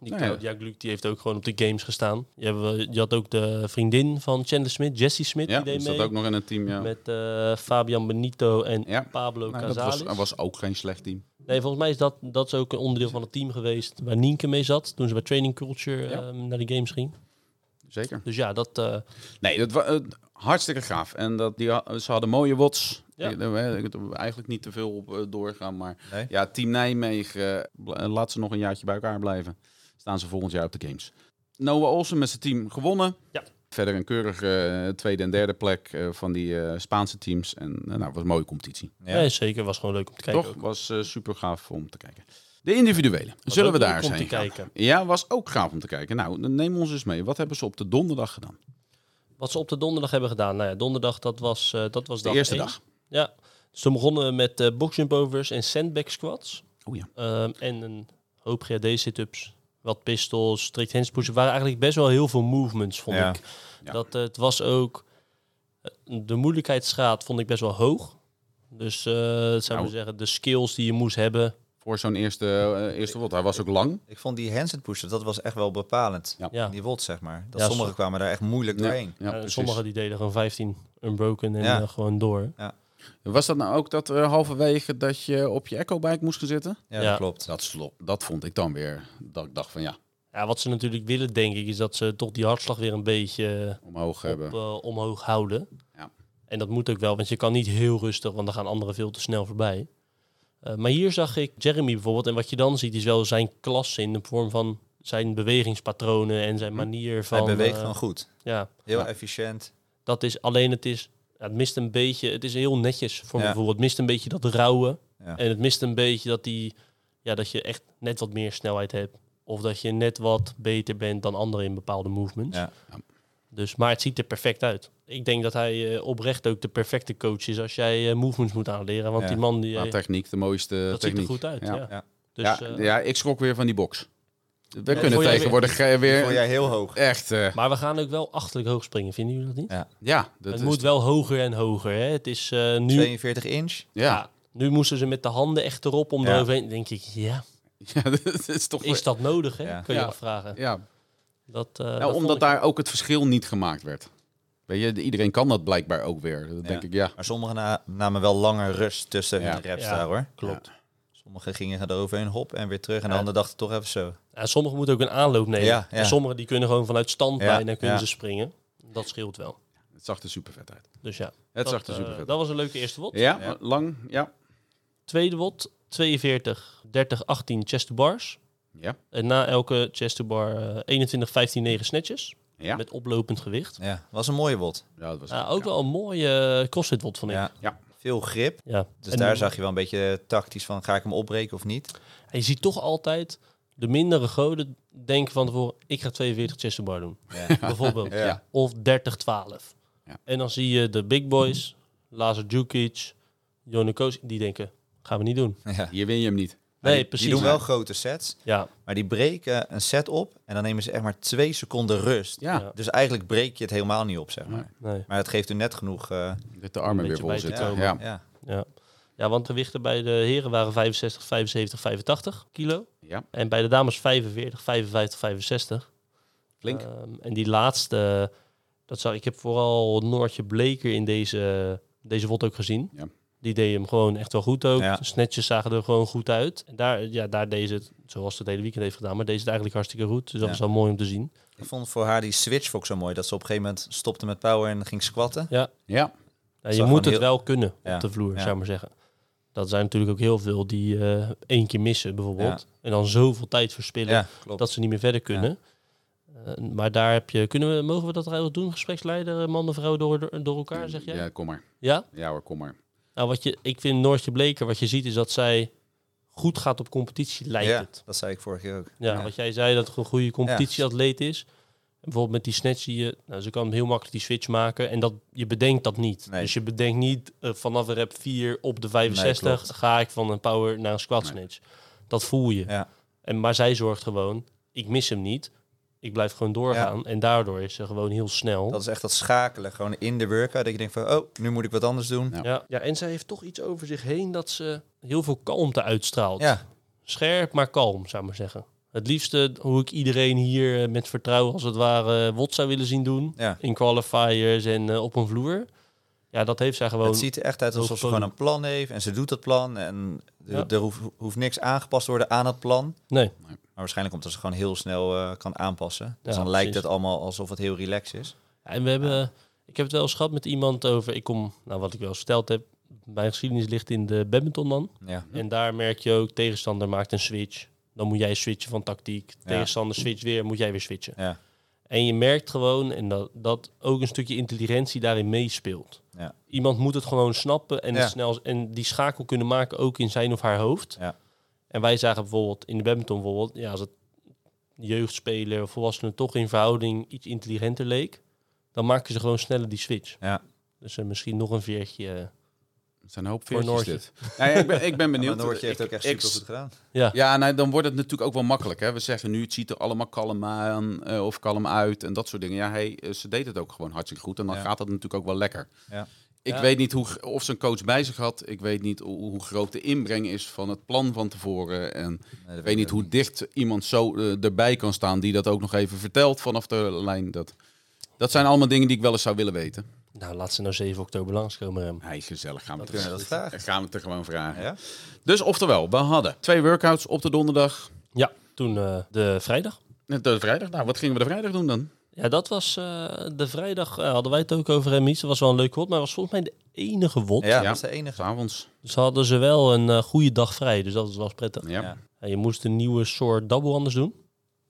Speaker 1: Die
Speaker 2: Nou ja.
Speaker 1: Claudia Gluck die heeft ook gewoon op de games gestaan. Je, hebt, wel- je had ook de vriendin van Chandler Smith, Jessie Smith,
Speaker 2: ja
Speaker 1: die deed
Speaker 2: is dat
Speaker 1: mee.
Speaker 2: ook nog in het team? Ja.
Speaker 1: Met eh, Fabian Benito en
Speaker 2: Ja.
Speaker 1: Pablo
Speaker 2: Nou, dat
Speaker 1: Casalis.
Speaker 2: was, was ook geen slecht team.
Speaker 1: Nee, volgens mij is dat, dat is ook een onderdeel van het team geweest waar Nienke mee zat toen ze bij Training Culture
Speaker 2: Ja.
Speaker 1: ehm, naar de games ging.
Speaker 2: Zeker.
Speaker 1: Dus ja, dat, eh,
Speaker 2: Nee, dat was hartstikke gaaf. En dat die, ha- ze hadden mooie wots.
Speaker 1: Ja.
Speaker 2: Ik- eh, ik- Eigenlijk niet te veel op eh, doorgaan. Maar
Speaker 4: Nee.
Speaker 2: ja, Team Nijmegen, eh, bl- eh, laat ze nog een jaartje bij elkaar blijven. Staan ze volgend jaar op de Games. Noah Olsen met zijn team gewonnen.
Speaker 1: Ja.
Speaker 2: Verder een keurige eh, tweede en derde plek eh, van die eh, Spaanse teams. En eh, nou, was een mooie competitie.
Speaker 4: Ja.
Speaker 1: nee, zeker was gewoon leuk om te kijken.
Speaker 2: Toch?
Speaker 1: ook.
Speaker 2: Was eh, super gaaf om te kijken. De individuele. Zullen we
Speaker 1: ook
Speaker 2: daar
Speaker 1: leuk
Speaker 2: eens
Speaker 1: om te
Speaker 2: heen gaan?
Speaker 1: kijken.
Speaker 2: Ja, was ook gaaf om te kijken. Nou, dan neem ons eens mee. Wat hebben ze op de donderdag gedaan?
Speaker 1: Wat ze op de donderdag hebben gedaan. Nou ja, donderdag dat was, eh, dat was
Speaker 2: De eerste
Speaker 1: één.
Speaker 2: dag.
Speaker 1: Ja, dus toen begonnen we met eh boxjump overs en sandbag squats.
Speaker 2: Oh ja.
Speaker 1: Ehm, en een hoop GHD sit-ups, wat pistols, strict hands pushes. waren eigenlijk best wel heel veel movements, vond
Speaker 4: Ja.
Speaker 1: ik.
Speaker 2: Ja.
Speaker 1: Dat, eh, het was ook... eh, De moeilijkheidsgraad vond ik best wel hoog. Dus eh zou ik maar zeggen, de skills die je moest hebben.
Speaker 2: Voor zo'n eerste, eh, eerste wat. Hij was ook lang.
Speaker 4: Ik vond die handset pusher, dat was echt wel bepalend.
Speaker 2: Ja.
Speaker 1: Ja.
Speaker 4: Die wot, zeg maar. Dat
Speaker 1: Ja,
Speaker 4: sommigen
Speaker 1: zo-
Speaker 4: kwamen daar echt moeilijk doorheen.
Speaker 2: Ja,
Speaker 1: Eh,
Speaker 2: precies.
Speaker 1: sommigen die deden gewoon 15 unbroken en
Speaker 4: Ja.
Speaker 1: eh, gewoon door.
Speaker 2: Was dat nou ook dat eh, halverwege dat je op je ecobike moest gaan zitten?
Speaker 4: Ja,
Speaker 1: Ja.
Speaker 4: dat klopt.
Speaker 2: Dat, slo- dat vond ik dan weer, dat ik dacht van ja,
Speaker 1: Ja, wat ze natuurlijk willen, denk ik, is dat ze toch die hartslag weer een beetje... eh,
Speaker 2: omhoog hebben.
Speaker 1: op, eh, omhoog houden.
Speaker 2: Ja.
Speaker 1: En dat moet ook wel, want je kan niet heel rustig, want dan gaan anderen veel te snel voorbij. Eh, maar hier zag ik Jeremy bijvoorbeeld, en wat je dan ziet is wel zijn klasse in de vorm van zijn bewegingspatronen en zijn manier van.
Speaker 4: Hm. Hij beweegt
Speaker 1: eh,
Speaker 4: gewoon goed.
Speaker 1: Ja,
Speaker 4: Heel
Speaker 2: Ja.
Speaker 4: efficiënt.
Speaker 1: dat is alleen het is. ja, het mist een beetje, het is heel netjes voor
Speaker 4: Ja.
Speaker 1: mijn gevoel. Het mist een beetje dat rauwe.
Speaker 4: Ja.
Speaker 1: En het mist een beetje dat, die, ja, dat je echt net wat meer snelheid hebt. Of dat je net wat beter bent dan anderen in bepaalde movements.
Speaker 4: Ja.
Speaker 2: Ja.
Speaker 1: Dus, maar het ziet er perfect uit. Ik denk dat hij eh, oprecht ook de perfecte coach is als jij eh, movements moet aanleren. Want
Speaker 4: Ja.
Speaker 1: die man, die, eh,
Speaker 2: Maar techniek, de mooiste
Speaker 1: dat
Speaker 2: techniek.
Speaker 1: ziet er goed uit.
Speaker 2: Ja,
Speaker 1: Ja.
Speaker 4: Ja.
Speaker 1: Dus,
Speaker 2: ja,
Speaker 1: eh,
Speaker 2: ja, ik schrok weer van die box. We
Speaker 1: vond
Speaker 2: kunnen
Speaker 1: jij
Speaker 2: tegenwoordig weer,
Speaker 4: Die
Speaker 2: weer
Speaker 4: vond jij heel hoog.
Speaker 2: echt, eh,
Speaker 1: Maar we gaan ook wel achterlijk hoog springen, vinden jullie dat niet?
Speaker 4: Ja.
Speaker 2: ja, dat
Speaker 1: het
Speaker 2: is-
Speaker 1: moet wel hoger en hoger. Hè? Het is eh, nu...
Speaker 4: 42 inch.
Speaker 2: ja.
Speaker 1: ja, Nu moesten ze met de handen echt erop om
Speaker 4: Ja.
Speaker 1: eroverheen. Dan Denk ik, ja,
Speaker 2: ja, dat is toch...
Speaker 1: is
Speaker 2: weer-
Speaker 1: dat nodig? Hè?
Speaker 4: Ja.
Speaker 1: Kun je
Speaker 2: Ja.
Speaker 1: afvragen.
Speaker 2: Ja,
Speaker 1: Dat, eh, dat
Speaker 2: nou,
Speaker 1: vond
Speaker 2: omdat
Speaker 1: ik-
Speaker 2: daar ook het verschil niet gemaakt werd. Weet je, iedereen kan dat blijkbaar ook weer. Dat denk ik, ja.
Speaker 4: Maar sommigen na- namen wel langer rust tussen
Speaker 2: Ja.
Speaker 4: hun reps
Speaker 1: Ja.
Speaker 4: daar hoor.
Speaker 1: Klopt.
Speaker 4: Sommigen gingen eroverheen, hop, en weer terug. En de
Speaker 1: Ja.
Speaker 4: anderen dachten toch even zo.
Speaker 1: En sommigen moeten ook een aanloop nemen.
Speaker 4: Ja, ja.
Speaker 1: En sommigen die kunnen gewoon vanuit stand
Speaker 4: Ja,
Speaker 1: bijna kunnen
Speaker 4: ja.
Speaker 1: ze springen. Dat scheelt wel.
Speaker 2: Het zag er super vet uit.
Speaker 1: Dus ja.
Speaker 2: Het
Speaker 1: dat,
Speaker 2: zag er
Speaker 1: eh,
Speaker 2: super vet
Speaker 1: Dat was een leuke eerste wot.
Speaker 2: Ja,
Speaker 4: Ja.
Speaker 2: lang, ja.
Speaker 1: Tweede wot, 42, 30, 18 chest to bars.
Speaker 2: Ja,
Speaker 1: En na elke chest to bar eh, 21, 15, 9 snatches.
Speaker 2: ja.
Speaker 1: Met oplopend gewicht.
Speaker 4: Ja, was een mooie wot.
Speaker 2: ja dat was
Speaker 1: Ah, ook wel een mooie eh, crossfit wot van ik. Ja.
Speaker 4: Ja. Veel grip. Dus
Speaker 1: En
Speaker 4: daar zag je wel een beetje tactisch van, ga ik hem opbreken of niet?
Speaker 1: En je ziet toch altijd de mindere goden denken van tevoren... ik ga 42 chest to bar doen,
Speaker 4: Ja.
Speaker 1: bijvoorbeeld.
Speaker 2: Ja.
Speaker 1: Of 30, 12.
Speaker 2: Ja.
Speaker 1: En dan zie je de big boys, Lazar Djukic, Jonny Koos... die denken, gaan we niet doen.
Speaker 4: ja.
Speaker 2: Hier win je hem niet.
Speaker 1: Nee,
Speaker 4: Die
Speaker 1: precies.
Speaker 4: doen wel grote sets,
Speaker 1: Ja,
Speaker 4: maar die breken een set op en dan nemen ze echt maar twee seconden rust.
Speaker 2: Ja,
Speaker 1: Ja.
Speaker 4: Dus eigenlijk breek je het helemaal niet op, zeg maar.
Speaker 1: nee.
Speaker 4: Maar het geeft u net genoeg. eh,
Speaker 2: dat de armen
Speaker 1: Een beetje
Speaker 2: weer vol
Speaker 1: bij te
Speaker 2: zitten.
Speaker 1: komen.
Speaker 2: Ja.
Speaker 4: ja.
Speaker 1: Ja. ja, want de gewichten bij de heren waren 65, 75, 85 kilo.
Speaker 2: ja,
Speaker 1: En bij de dames 45, 55, 65.
Speaker 2: flink.
Speaker 1: Ehm, en die laatste, dat zou, ik heb vooral Noortje Bleker in deze, deze wot ook gezien.
Speaker 2: Ja.
Speaker 1: Die deed hem gewoon echt wel goed ook.
Speaker 4: Ja.
Speaker 1: De Snatches zagen er gewoon goed uit. En daar, ja, daar deed ze het, zoals ze het hele weekend heeft gedaan, maar deze het eigenlijk hartstikke goed. Dus dat
Speaker 4: Ja.
Speaker 1: is wel mooi om te zien.
Speaker 4: Ik vond voor haar die switch ook zo mooi. Dat ze op een gegeven moment stopte met power en ging squatten.
Speaker 1: Ja,
Speaker 2: Ja,
Speaker 1: ja,
Speaker 4: zag
Speaker 1: je
Speaker 4: gewoon
Speaker 1: moet het
Speaker 4: heel-
Speaker 1: wel kunnen
Speaker 4: Ja.
Speaker 1: op de vloer,
Speaker 4: Ja.
Speaker 1: zou ik maar zeggen. Dat zijn natuurlijk ook heel veel die eh, één keer missen bijvoorbeeld. En dan zoveel tijd verspillen.
Speaker 4: Ja, klopt.
Speaker 1: dat ze niet meer verder kunnen. Eh, maar daar heb je, kunnen we, mogen we dat trouwens doen, gespreksleider, eh, man en vrouw door, door, door elkaar, zeg jij? Ja.
Speaker 2: ja, kom maar. Ja hoor, kom maar.
Speaker 1: Nou, wat je, ik vind Noortje Bleker, wat je ziet is dat zij goed gaat op competitie, lijkt
Speaker 4: ja,
Speaker 1: het.
Speaker 4: dat zei ik vorige keer ook.
Speaker 1: Ja,
Speaker 4: Ja.
Speaker 1: wat jij zei, dat het een goede competitieatleet is. En bijvoorbeeld met die snatch zie je, nou, ze kan heel makkelijk die switch maken en dat, je bedenkt dat niet.
Speaker 4: Nee.
Speaker 1: Dus je bedenkt niet eh, vanaf rep 4 op de 65
Speaker 4: klopt.
Speaker 1: ga ik van een power naar een squat snatch. Dat voel je.
Speaker 4: Ja.
Speaker 1: En, maar zij zorgt gewoon, ik mis hem niet. Ik blijf gewoon doorgaan. En daardoor is ze gewoon heel snel.
Speaker 4: Dat is echt dat schakelen, gewoon in de workout. Dat je denkt van, oh, nu moet ik wat anders doen.
Speaker 2: Ja.
Speaker 4: Ja,
Speaker 1: ja. ja, en zij heeft toch iets over zich heen dat ze heel veel kalmte uitstraalt.
Speaker 4: ja.
Speaker 1: Scherp, maar kalm, zou ik maar zeggen. Het liefste hoe ik iedereen hier eh, met vertrouwen als het ware eh, wat zou willen zien doen. In qualifiers en eh, op een vloer. Ja, dat heeft zij gewoon.
Speaker 4: het ziet er echt uit alsof ze
Speaker 1: Hoeveel-
Speaker 4: gewoon een plan heeft. En ze doet dat plan. En er,
Speaker 1: Ja.
Speaker 4: er hoeft, hoeft niks aangepast te worden aan het plan.
Speaker 1: Nee,
Speaker 4: Maar waarschijnlijk omdat ze gewoon heel snel eh, kan aanpassen. Dus
Speaker 1: Ja,
Speaker 4: dan lijkt
Speaker 1: precies.
Speaker 4: het allemaal alsof het heel relaxed is.
Speaker 1: En we hebben, ik heb het wel eens gehad met iemand over, ik kom, nou wat ik wel eens verteld heb, mijn geschiedenis ligt in de badminton dan.
Speaker 4: Ja,
Speaker 1: En daar merk je ook, tegenstander maakt een switch. Dan moet jij switchen van tactiek. Tegenstander switcht weer, moet jij weer switchen.
Speaker 4: ja,
Speaker 1: En je merkt gewoon en dat, dat ook een stukje intelligentie daarin meespeelt.
Speaker 4: Ja.
Speaker 1: Iemand moet het gewoon snappen en, het
Speaker 4: Ja.
Speaker 1: snel, en die schakel kunnen maken ook in zijn of haar hoofd.
Speaker 4: Ja.
Speaker 1: En wij zagen bijvoorbeeld in de badminton bijvoorbeeld, ja, als het jeugdspeler of volwassenen toch in verhouding iets intelligenter leek, dan maken ze gewoon sneller die switch.
Speaker 4: ja.
Speaker 1: Dus eh, misschien nog een veertje. eh,
Speaker 2: Het zijn een hoop
Speaker 1: Voor
Speaker 2: veertjes dit. Nee, ik, ben, ik ben
Speaker 4: Maar
Speaker 2: benieuwd.
Speaker 4: Noortje heeft
Speaker 2: Ik-
Speaker 4: ook echt
Speaker 2: ik-
Speaker 4: super goed gedaan.
Speaker 1: ja.
Speaker 2: Ja, nou, dan wordt het natuurlijk ook wel makkelijk. Hè? We zeggen nu, het ziet er allemaal kalm aan eh, of kalm uit en dat soort dingen. Ja, hey, eh, ze deed het ook gewoon hartstikke goed. En dan
Speaker 4: Ja.
Speaker 2: gaat dat natuurlijk ook wel lekker.
Speaker 4: Ja.
Speaker 2: Ik
Speaker 1: Ja.
Speaker 2: weet niet hoe, g- of ze een coach bij zich had. Ik weet niet hoe, hoe groot de inbreng is van het plan van tevoren. En ik weet niet hoe dicht iemand zo eh, erbij kan staan die dat ook nog even vertelt vanaf de lijn. Dat, dat zijn allemaal dingen die ik wel eens zou willen weten.
Speaker 1: Nou, laat ze nou 7 oktober langskomen. Rem.
Speaker 2: Hij gezellig, gaan we, het
Speaker 4: kunnen we dat vragen.
Speaker 2: gaan we het er gewoon vragen.
Speaker 4: Ja?
Speaker 2: Dus oftewel, we hadden twee workouts op de donderdag.
Speaker 1: Ja, toen eh, de vrijdag.
Speaker 2: De vrijdag, nou, wat gingen we de vrijdag doen dan?
Speaker 1: Ja, dat was eh, de vrijdag. eh, hadden wij het ook over Remies. Dat was wel een leuke wot, maar was volgens mij de enige wot.
Speaker 4: Ja, dat is de enige.
Speaker 2: S'avonds.
Speaker 1: Dus hadden ze wel een eh, goede dag vrij, dus dat was prettig.
Speaker 2: Ja.
Speaker 4: Ja.
Speaker 1: En je moest een nieuwe soort double anders doen.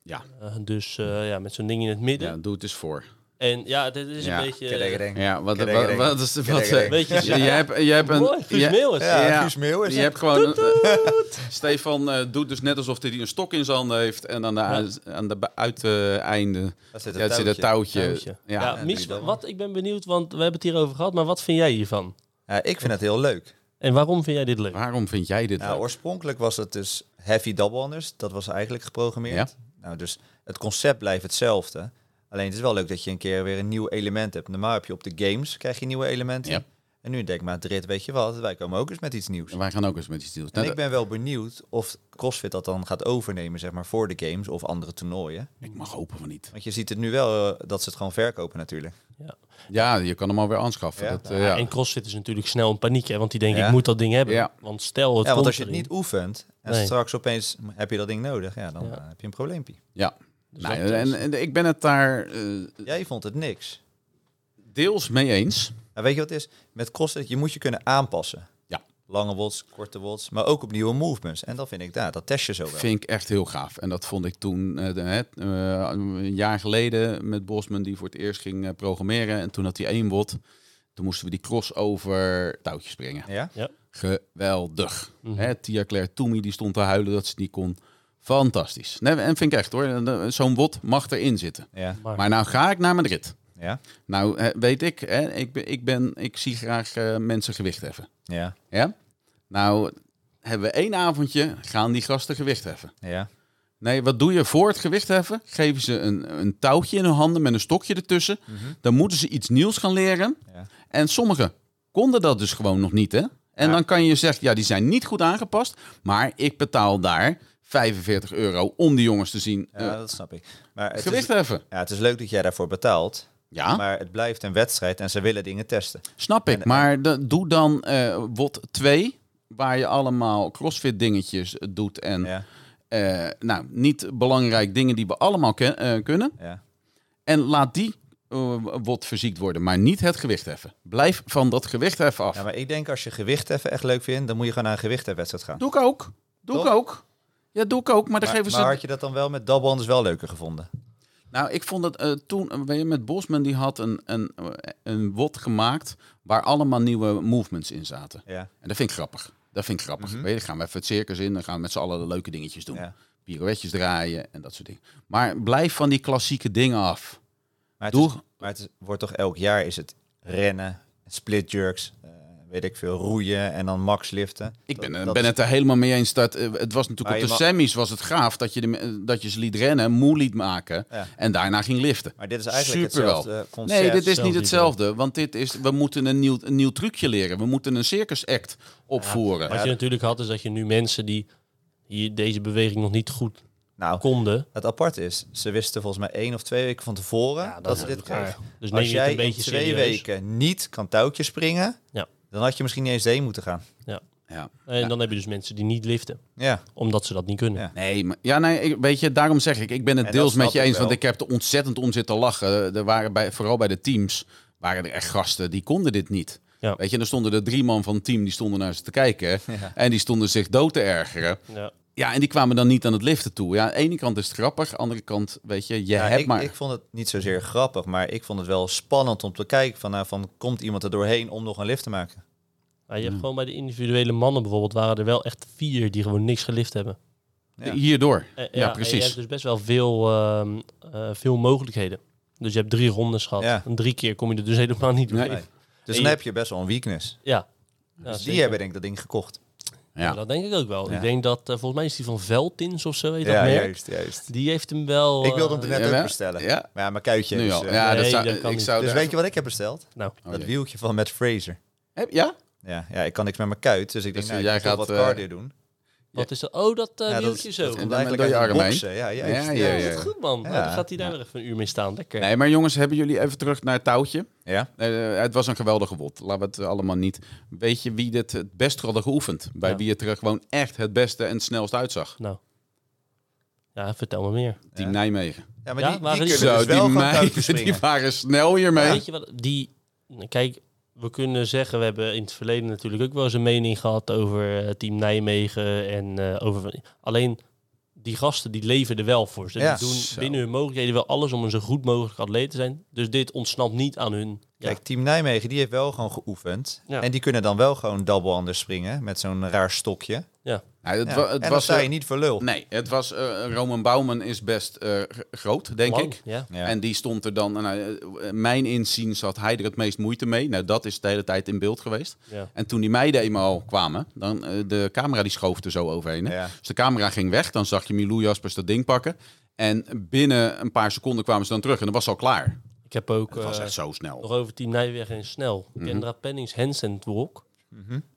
Speaker 2: Ja.
Speaker 1: Eh, dus eh, ja, met zo'n ding in het midden.
Speaker 2: ja, doe het eens voor.
Speaker 1: En ja, dit is
Speaker 2: Ja.
Speaker 1: een beetje...
Speaker 4: Kedek, kedek.
Speaker 2: Ja, wat,
Speaker 4: Kedek,
Speaker 2: wat,
Speaker 4: kedek.
Speaker 2: wat is de
Speaker 4: Kedek,
Speaker 2: wat?
Speaker 4: kedek.
Speaker 1: Weet je,
Speaker 2: je hebt, je hebt een.
Speaker 1: eh, Mooi, Guus
Speaker 2: je-
Speaker 1: Meeuwis.
Speaker 4: Ja,
Speaker 2: Ja.
Speaker 4: Guus Meeuwis.
Speaker 2: Je hebt gewoon. eh, Stefan eh, doet dus net alsof hij een stok in zijn handen heeft. En aan de, aan de uiteinde
Speaker 4: Daar zit een
Speaker 2: ja, zit een
Speaker 4: touwtje.
Speaker 2: touwtje.
Speaker 1: Touwtje. Ja,
Speaker 2: Ja.
Speaker 1: Mies,
Speaker 4: doe je dat.
Speaker 1: wat, ik ben benieuwd, want we hebben het hier over gehad, maar wat vind jij hiervan?
Speaker 4: Ja, ik vind het heel leuk.
Speaker 1: En waarom vind jij dit leuk?
Speaker 2: Waarom vind jij dit?
Speaker 4: Nou,
Speaker 2: leuk?
Speaker 4: oorspronkelijk was het dus heavy double anders. Dat was eigenlijk geprogrammeerd. Nou, dus het concept blijft hetzelfde. Alleen het is wel leuk dat je een keer weer een nieuw element hebt. Normaal heb je op de games krijg je nieuwe elementen.
Speaker 2: Ja.
Speaker 4: En En nu denkt Madrid, weet je wat, wij komen ook eens met iets nieuws.
Speaker 2: En wij gaan ook eens met die stiels.
Speaker 4: En ik ben wel benieuwd of CrossFit dat dan gaat overnemen, zeg maar, voor de games of andere toernooien.
Speaker 2: Ik mag hopen van niet.
Speaker 4: Want je ziet het nu wel eh, dat ze het gewoon verkopen natuurlijk.
Speaker 2: Ja, je kan hem alweer aanschaffen.
Speaker 4: Ja.
Speaker 2: Dat, eh, ja.
Speaker 1: En CrossFit is natuurlijk snel in paniek, hè, want die denken,
Speaker 4: Ja.
Speaker 1: ik moet dat ding hebben.
Speaker 2: Ja.
Speaker 1: Want stel, het
Speaker 4: ja, want
Speaker 1: komt
Speaker 4: als je het
Speaker 1: erin.
Speaker 4: niet oefent en
Speaker 1: Nee.
Speaker 4: straks opeens heb je dat ding nodig, ja, dan
Speaker 1: Ja.
Speaker 4: eh, heb je een probleempje.
Speaker 2: ja. Nou,
Speaker 1: dat
Speaker 2: en,
Speaker 1: is-
Speaker 2: en ik ben het daar eh,
Speaker 4: Jij vond het niks.
Speaker 2: deels mee eens.
Speaker 4: Maar weet je wat het is? Met CrossFit, je moet je kunnen aanpassen.
Speaker 2: Ja.
Speaker 4: Lange wots, korte wots, maar ook op nieuwe movements. En dat vind ik, daar, dat test je zo wel.
Speaker 2: Vind ik echt heel gaaf. En dat vond ik toen, eh, de- hè, eh, een jaar geleden met Bosman, die voor het eerst ging eh, programmeren. En toen had hij één wot. Toen moesten we die crossover touwtjes springen.
Speaker 4: Ja? Mhm.
Speaker 2: Geweldig. Hè, Tia Claire Toomey die stond te huilen dat ze het niet kon. Fantastisch. Nee, en vind ik echt hoor. En, eh, Zo'n wot mag erin zitten.
Speaker 4: Ja.
Speaker 2: Maar nou ga ik naar Madrid.
Speaker 4: Ja?
Speaker 2: Nou eh, weet ik, hè, ik, ben- ik, ben, ik zie graag eh, mensen gewicht heffen.
Speaker 4: Ja?
Speaker 2: Ja? Nou hebben we één avondje, gaan die gasten gewicht heffen.
Speaker 4: Ja?
Speaker 2: Nee, wat doe je voor het gewicht heffen? Geven ze een, een touwtje in hun handen met een stokje ertussen.
Speaker 4: Mhm.
Speaker 2: Dan moeten ze iets nieuws gaan leren.
Speaker 4: Ja.
Speaker 2: En sommigen konden dat dus gewoon nog niet, hè? En
Speaker 4: Ja.
Speaker 2: dan kan je zeggen, ja, die zijn niet goed aangepast. Maar ik betaal daar 45 euro om die jongens te zien eh,
Speaker 4: Ja, dat snap ik. Maar het
Speaker 2: gewicht
Speaker 4: is,
Speaker 2: heffen.
Speaker 4: ja, het is leuk dat jij daarvoor betaalt,
Speaker 2: Ja,
Speaker 4: maar het blijft een wedstrijd en ze willen dingen testen.
Speaker 2: snap ik.
Speaker 4: en-
Speaker 2: maar de- doe dan eh WOT 2, waar je allemaal crossfit dingetjes doet. En
Speaker 4: Ja,
Speaker 2: eh, nou, niet belangrijk dingen die we allemaal ken- eh, kunnen.
Speaker 4: ja.
Speaker 2: En laat die eh, wat verziekt worden, maar niet het gewicht heffen. Blijf van dat gewicht heffen af.
Speaker 4: ja, maar ik denk als je gewicht even echt leuk vindt, dan moet je gewoon naar een gewichtheffenwedstrijd gaan.
Speaker 2: Doe ik ook. Doe ik
Speaker 4: Toch?
Speaker 2: ook. Ja, doe ik ook, maar dan
Speaker 4: Maar,
Speaker 2: geven ze...
Speaker 4: maar had je dat dan wel met double wel leuker gevonden?
Speaker 2: Nou, ik vond het eh, toen, eh, weet je, met Bosman, die had een, een, eh, een wot gemaakt waar allemaal nieuwe movements in zaten.
Speaker 4: Ja, Mhm.
Speaker 2: En dat vind ik grappig. Dat vind ik grappig. Weet je, dan gaan we even het circus in, dan gaan we met z'n allen de leuke dingetjes doen.
Speaker 4: ja.
Speaker 2: Pirouetjes draaien en dat soort dingen. Maar blijf van die klassieke dingen af.
Speaker 4: Maar het,
Speaker 2: Doe-
Speaker 4: is, maar het is- wordt toch elk jaar is het rennen, split jerks, eh, weet ik veel, roeien en dan max liften.
Speaker 2: Ik ben,
Speaker 4: Dat-
Speaker 2: eh,
Speaker 4: dat
Speaker 2: ben
Speaker 4: is-
Speaker 2: het er helemaal mee eens. Dat, eh, het was natuurlijk
Speaker 4: Maar
Speaker 2: op
Speaker 4: je
Speaker 2: de
Speaker 4: mag-
Speaker 2: semis was het gaaf dat je, de, me- dat je ze liet rennen, moe liet maken
Speaker 4: Ja.
Speaker 2: en daarna ging liften.
Speaker 4: Maar dit is eigenlijk
Speaker 2: Super wel.
Speaker 4: hetzelfde eh, concept.
Speaker 2: Nee, dit is niet
Speaker 1: zelfs niet, hè?
Speaker 2: hetzelfde. Want dit is, we moeten een nieuw, een nieuw trucje leren. We moeten een circus act opvoeren.
Speaker 1: Wat je natuurlijk had, is dat je nu mensen die hier deze beweging nog niet goed
Speaker 4: Nou,
Speaker 1: konden...
Speaker 4: het apart is, ze wisten volgens mij één of twee weken van tevoren dat,
Speaker 1: dat
Speaker 4: ze
Speaker 1: is
Speaker 4: dit
Speaker 1: elkaar.
Speaker 4: kregen.
Speaker 1: Dus neem
Speaker 4: Als
Speaker 1: je het
Speaker 4: jij
Speaker 1: een
Speaker 4: in
Speaker 1: beetje
Speaker 4: twee
Speaker 1: serieus.
Speaker 4: weken niet kan touwtjes springen,
Speaker 1: Ja.
Speaker 4: dan had je misschien niet eens heen moeten gaan.
Speaker 1: Ja.
Speaker 2: Ja.
Speaker 1: En dan heb je dus mensen die niet liften,
Speaker 4: Ja,
Speaker 1: omdat ze dat niet kunnen.
Speaker 4: Ja.
Speaker 2: Nee, maar, ja, nee, ik, weet je, daarom zeg ik, ik ben het
Speaker 4: En
Speaker 2: deels
Speaker 4: dat
Speaker 2: met je
Speaker 4: snap ik
Speaker 2: eens. Want
Speaker 4: wel.
Speaker 2: ik heb er ontzettend om zitten lachen. Er waren bij, vooral bij de teams, waren er echt gasten die konden dit niet.
Speaker 1: Ja.
Speaker 2: Weet je, en er stonden er drie man van het team, die stonden naar ze te kijken. En die stonden zich dood te ergeren.
Speaker 1: Ja.
Speaker 2: Ja, en die kwamen dan niet aan het liften toe. Ja, aan de ene kant is het grappig, aan de andere kant, weet je, je
Speaker 4: Ja,
Speaker 2: hebt
Speaker 4: Nou, ik,
Speaker 2: maar...
Speaker 4: ik vond het niet zozeer grappig, maar ik vond het wel spannend om te kijken van, nou, van komt iemand er doorheen om nog een lift te maken?
Speaker 1: Maar je hebt gewoon bij de individuele mannen bijvoorbeeld, waren er wel echt vier die gewoon niks gelift hebben.
Speaker 4: Ja.
Speaker 2: Hierdoor.
Speaker 1: Eh,
Speaker 2: ja,
Speaker 1: en Je hebt
Speaker 2: precies.
Speaker 1: dus best wel veel, ehm, eh, veel mogelijkheden. Dus je hebt drie rondes gehad.
Speaker 4: Ja.
Speaker 1: En drie keer kom je er dus helemaal niet doorheen.
Speaker 2: Nee.
Speaker 4: Dus
Speaker 1: En
Speaker 4: dan
Speaker 1: je-
Speaker 4: heb je best wel een weakness.
Speaker 1: Ja. Ja,
Speaker 4: dus die
Speaker 1: zeker.
Speaker 4: hebben denk ik dat ding gekocht.
Speaker 1: Ja,
Speaker 2: Ja.
Speaker 1: dat denk ik ook wel.
Speaker 4: Ja.
Speaker 1: Ik denk dat, eh, volgens mij is die van Veltins of zo, heet dat merk.
Speaker 4: juist, juist.
Speaker 1: Die heeft hem wel...
Speaker 4: Ik wilde hem
Speaker 1: eh,
Speaker 4: er net
Speaker 2: Jawel.
Speaker 4: ook bestellen.
Speaker 2: Ja.
Speaker 4: Maar ja, mijn kuitje
Speaker 2: Nu
Speaker 4: is...
Speaker 2: al.
Speaker 4: eh,
Speaker 2: Ja,
Speaker 1: nee,
Speaker 2: dat zou,
Speaker 1: dat kan
Speaker 2: ik
Speaker 1: niet.
Speaker 2: zou
Speaker 4: Dus
Speaker 2: er-
Speaker 4: weet je wat ik heb besteld?
Speaker 1: Nou,
Speaker 2: Oh,
Speaker 4: dat
Speaker 2: jee.
Speaker 4: wieltje van Matt Fraser.
Speaker 2: Heb- Ja?
Speaker 4: Ja, ja, ik kan niks met mijn kuit, dus ik denk,
Speaker 2: Dus,
Speaker 4: nou,
Speaker 2: eh,
Speaker 4: ik
Speaker 2: jij
Speaker 4: ga wat
Speaker 2: gaat, eh,
Speaker 4: cardio doen.
Speaker 1: wat is dat? Oh, dat eh
Speaker 4: Ja, dat
Speaker 1: wieltje
Speaker 4: is-
Speaker 1: zo.
Speaker 4: dat komt
Speaker 2: dan
Speaker 4: eigenlijk
Speaker 2: door je
Speaker 4: uit
Speaker 2: arm heen.
Speaker 4: boksen. Ja,
Speaker 2: Ja,
Speaker 4: juist.
Speaker 2: ja,
Speaker 1: Ja,
Speaker 2: ja.
Speaker 1: dat is goed, man.
Speaker 4: Ja.
Speaker 1: Oh, dan gaat hij daar nog even een uur mee staan. Lekker.
Speaker 2: Nee, maar jongens, hebben jullie even terug naar het touwtje?
Speaker 4: Ja?
Speaker 2: Eh, het was een geweldige wot. Laten we het allemaal niet... Weet je wie dit het best hadden geoefend? Bij
Speaker 1: Ja.
Speaker 2: wie het er gewoon echt het beste en het snelst uitzag?
Speaker 1: Nou. Ja, vertel me meer.
Speaker 2: Team Nijmegen.
Speaker 4: Ja, maar
Speaker 1: Ja,
Speaker 4: die,
Speaker 1: waren
Speaker 4: die
Speaker 1: die-
Speaker 4: kunnen dus wel
Speaker 2: die
Speaker 4: gewoon touwtjes
Speaker 2: meiden die
Speaker 4: springen.
Speaker 2: waren snel hiermee.
Speaker 1: Weet je wat, die... Kijk, we kunnen zeggen, we hebben in het verleden natuurlijk ook wel eens een mening gehad over eh, Team Nijmegen en eh, over... Alleen, die gasten die leven er wel voor. Ze
Speaker 4: Ja.
Speaker 1: doen
Speaker 2: Zo.
Speaker 1: binnen hun mogelijkheden wel alles om een zo goed mogelijk atleet te zijn. Dus dit ontsnapt niet aan hun... Ja,
Speaker 4: Kijk, Team Nijmegen, die heeft wel gewoon geoefend.
Speaker 1: Ja.
Speaker 4: En die kunnen dan wel gewoon double anders springen met zo'n raar stokje.
Speaker 1: ja.
Speaker 2: Nou, het
Speaker 4: Ja.
Speaker 2: wa-
Speaker 4: en
Speaker 2: het
Speaker 4: dan
Speaker 2: was,
Speaker 4: sta je
Speaker 2: eh,
Speaker 4: niet voor lul.
Speaker 2: Nee, het was eh Roman Bouwman is best eh, g- groot, denk
Speaker 1: Lang,
Speaker 2: ik.
Speaker 1: ja.
Speaker 4: Ja.
Speaker 2: En die stond er dan, nou, eh, mijn inziens had hij er het meest moeite mee. Nou, dat is de hele tijd in beeld geweest.
Speaker 1: Ja.
Speaker 2: En toen die meiden eenmaal kwamen, dan, eh, de camera die schoof er zo overheen. hè.
Speaker 4: Ja.
Speaker 2: Dus de camera ging weg, dan zag je Milou Jaspers dat ding pakken. En binnen een paar seconden kwamen ze dan terug en dat was al klaar.
Speaker 1: Ik heb ook
Speaker 2: Het was
Speaker 1: eh,
Speaker 2: echt zo snel.
Speaker 1: nog over Team Nijweg en snel.
Speaker 2: Mhm.
Speaker 1: Kendra Pennings Hansen Walk.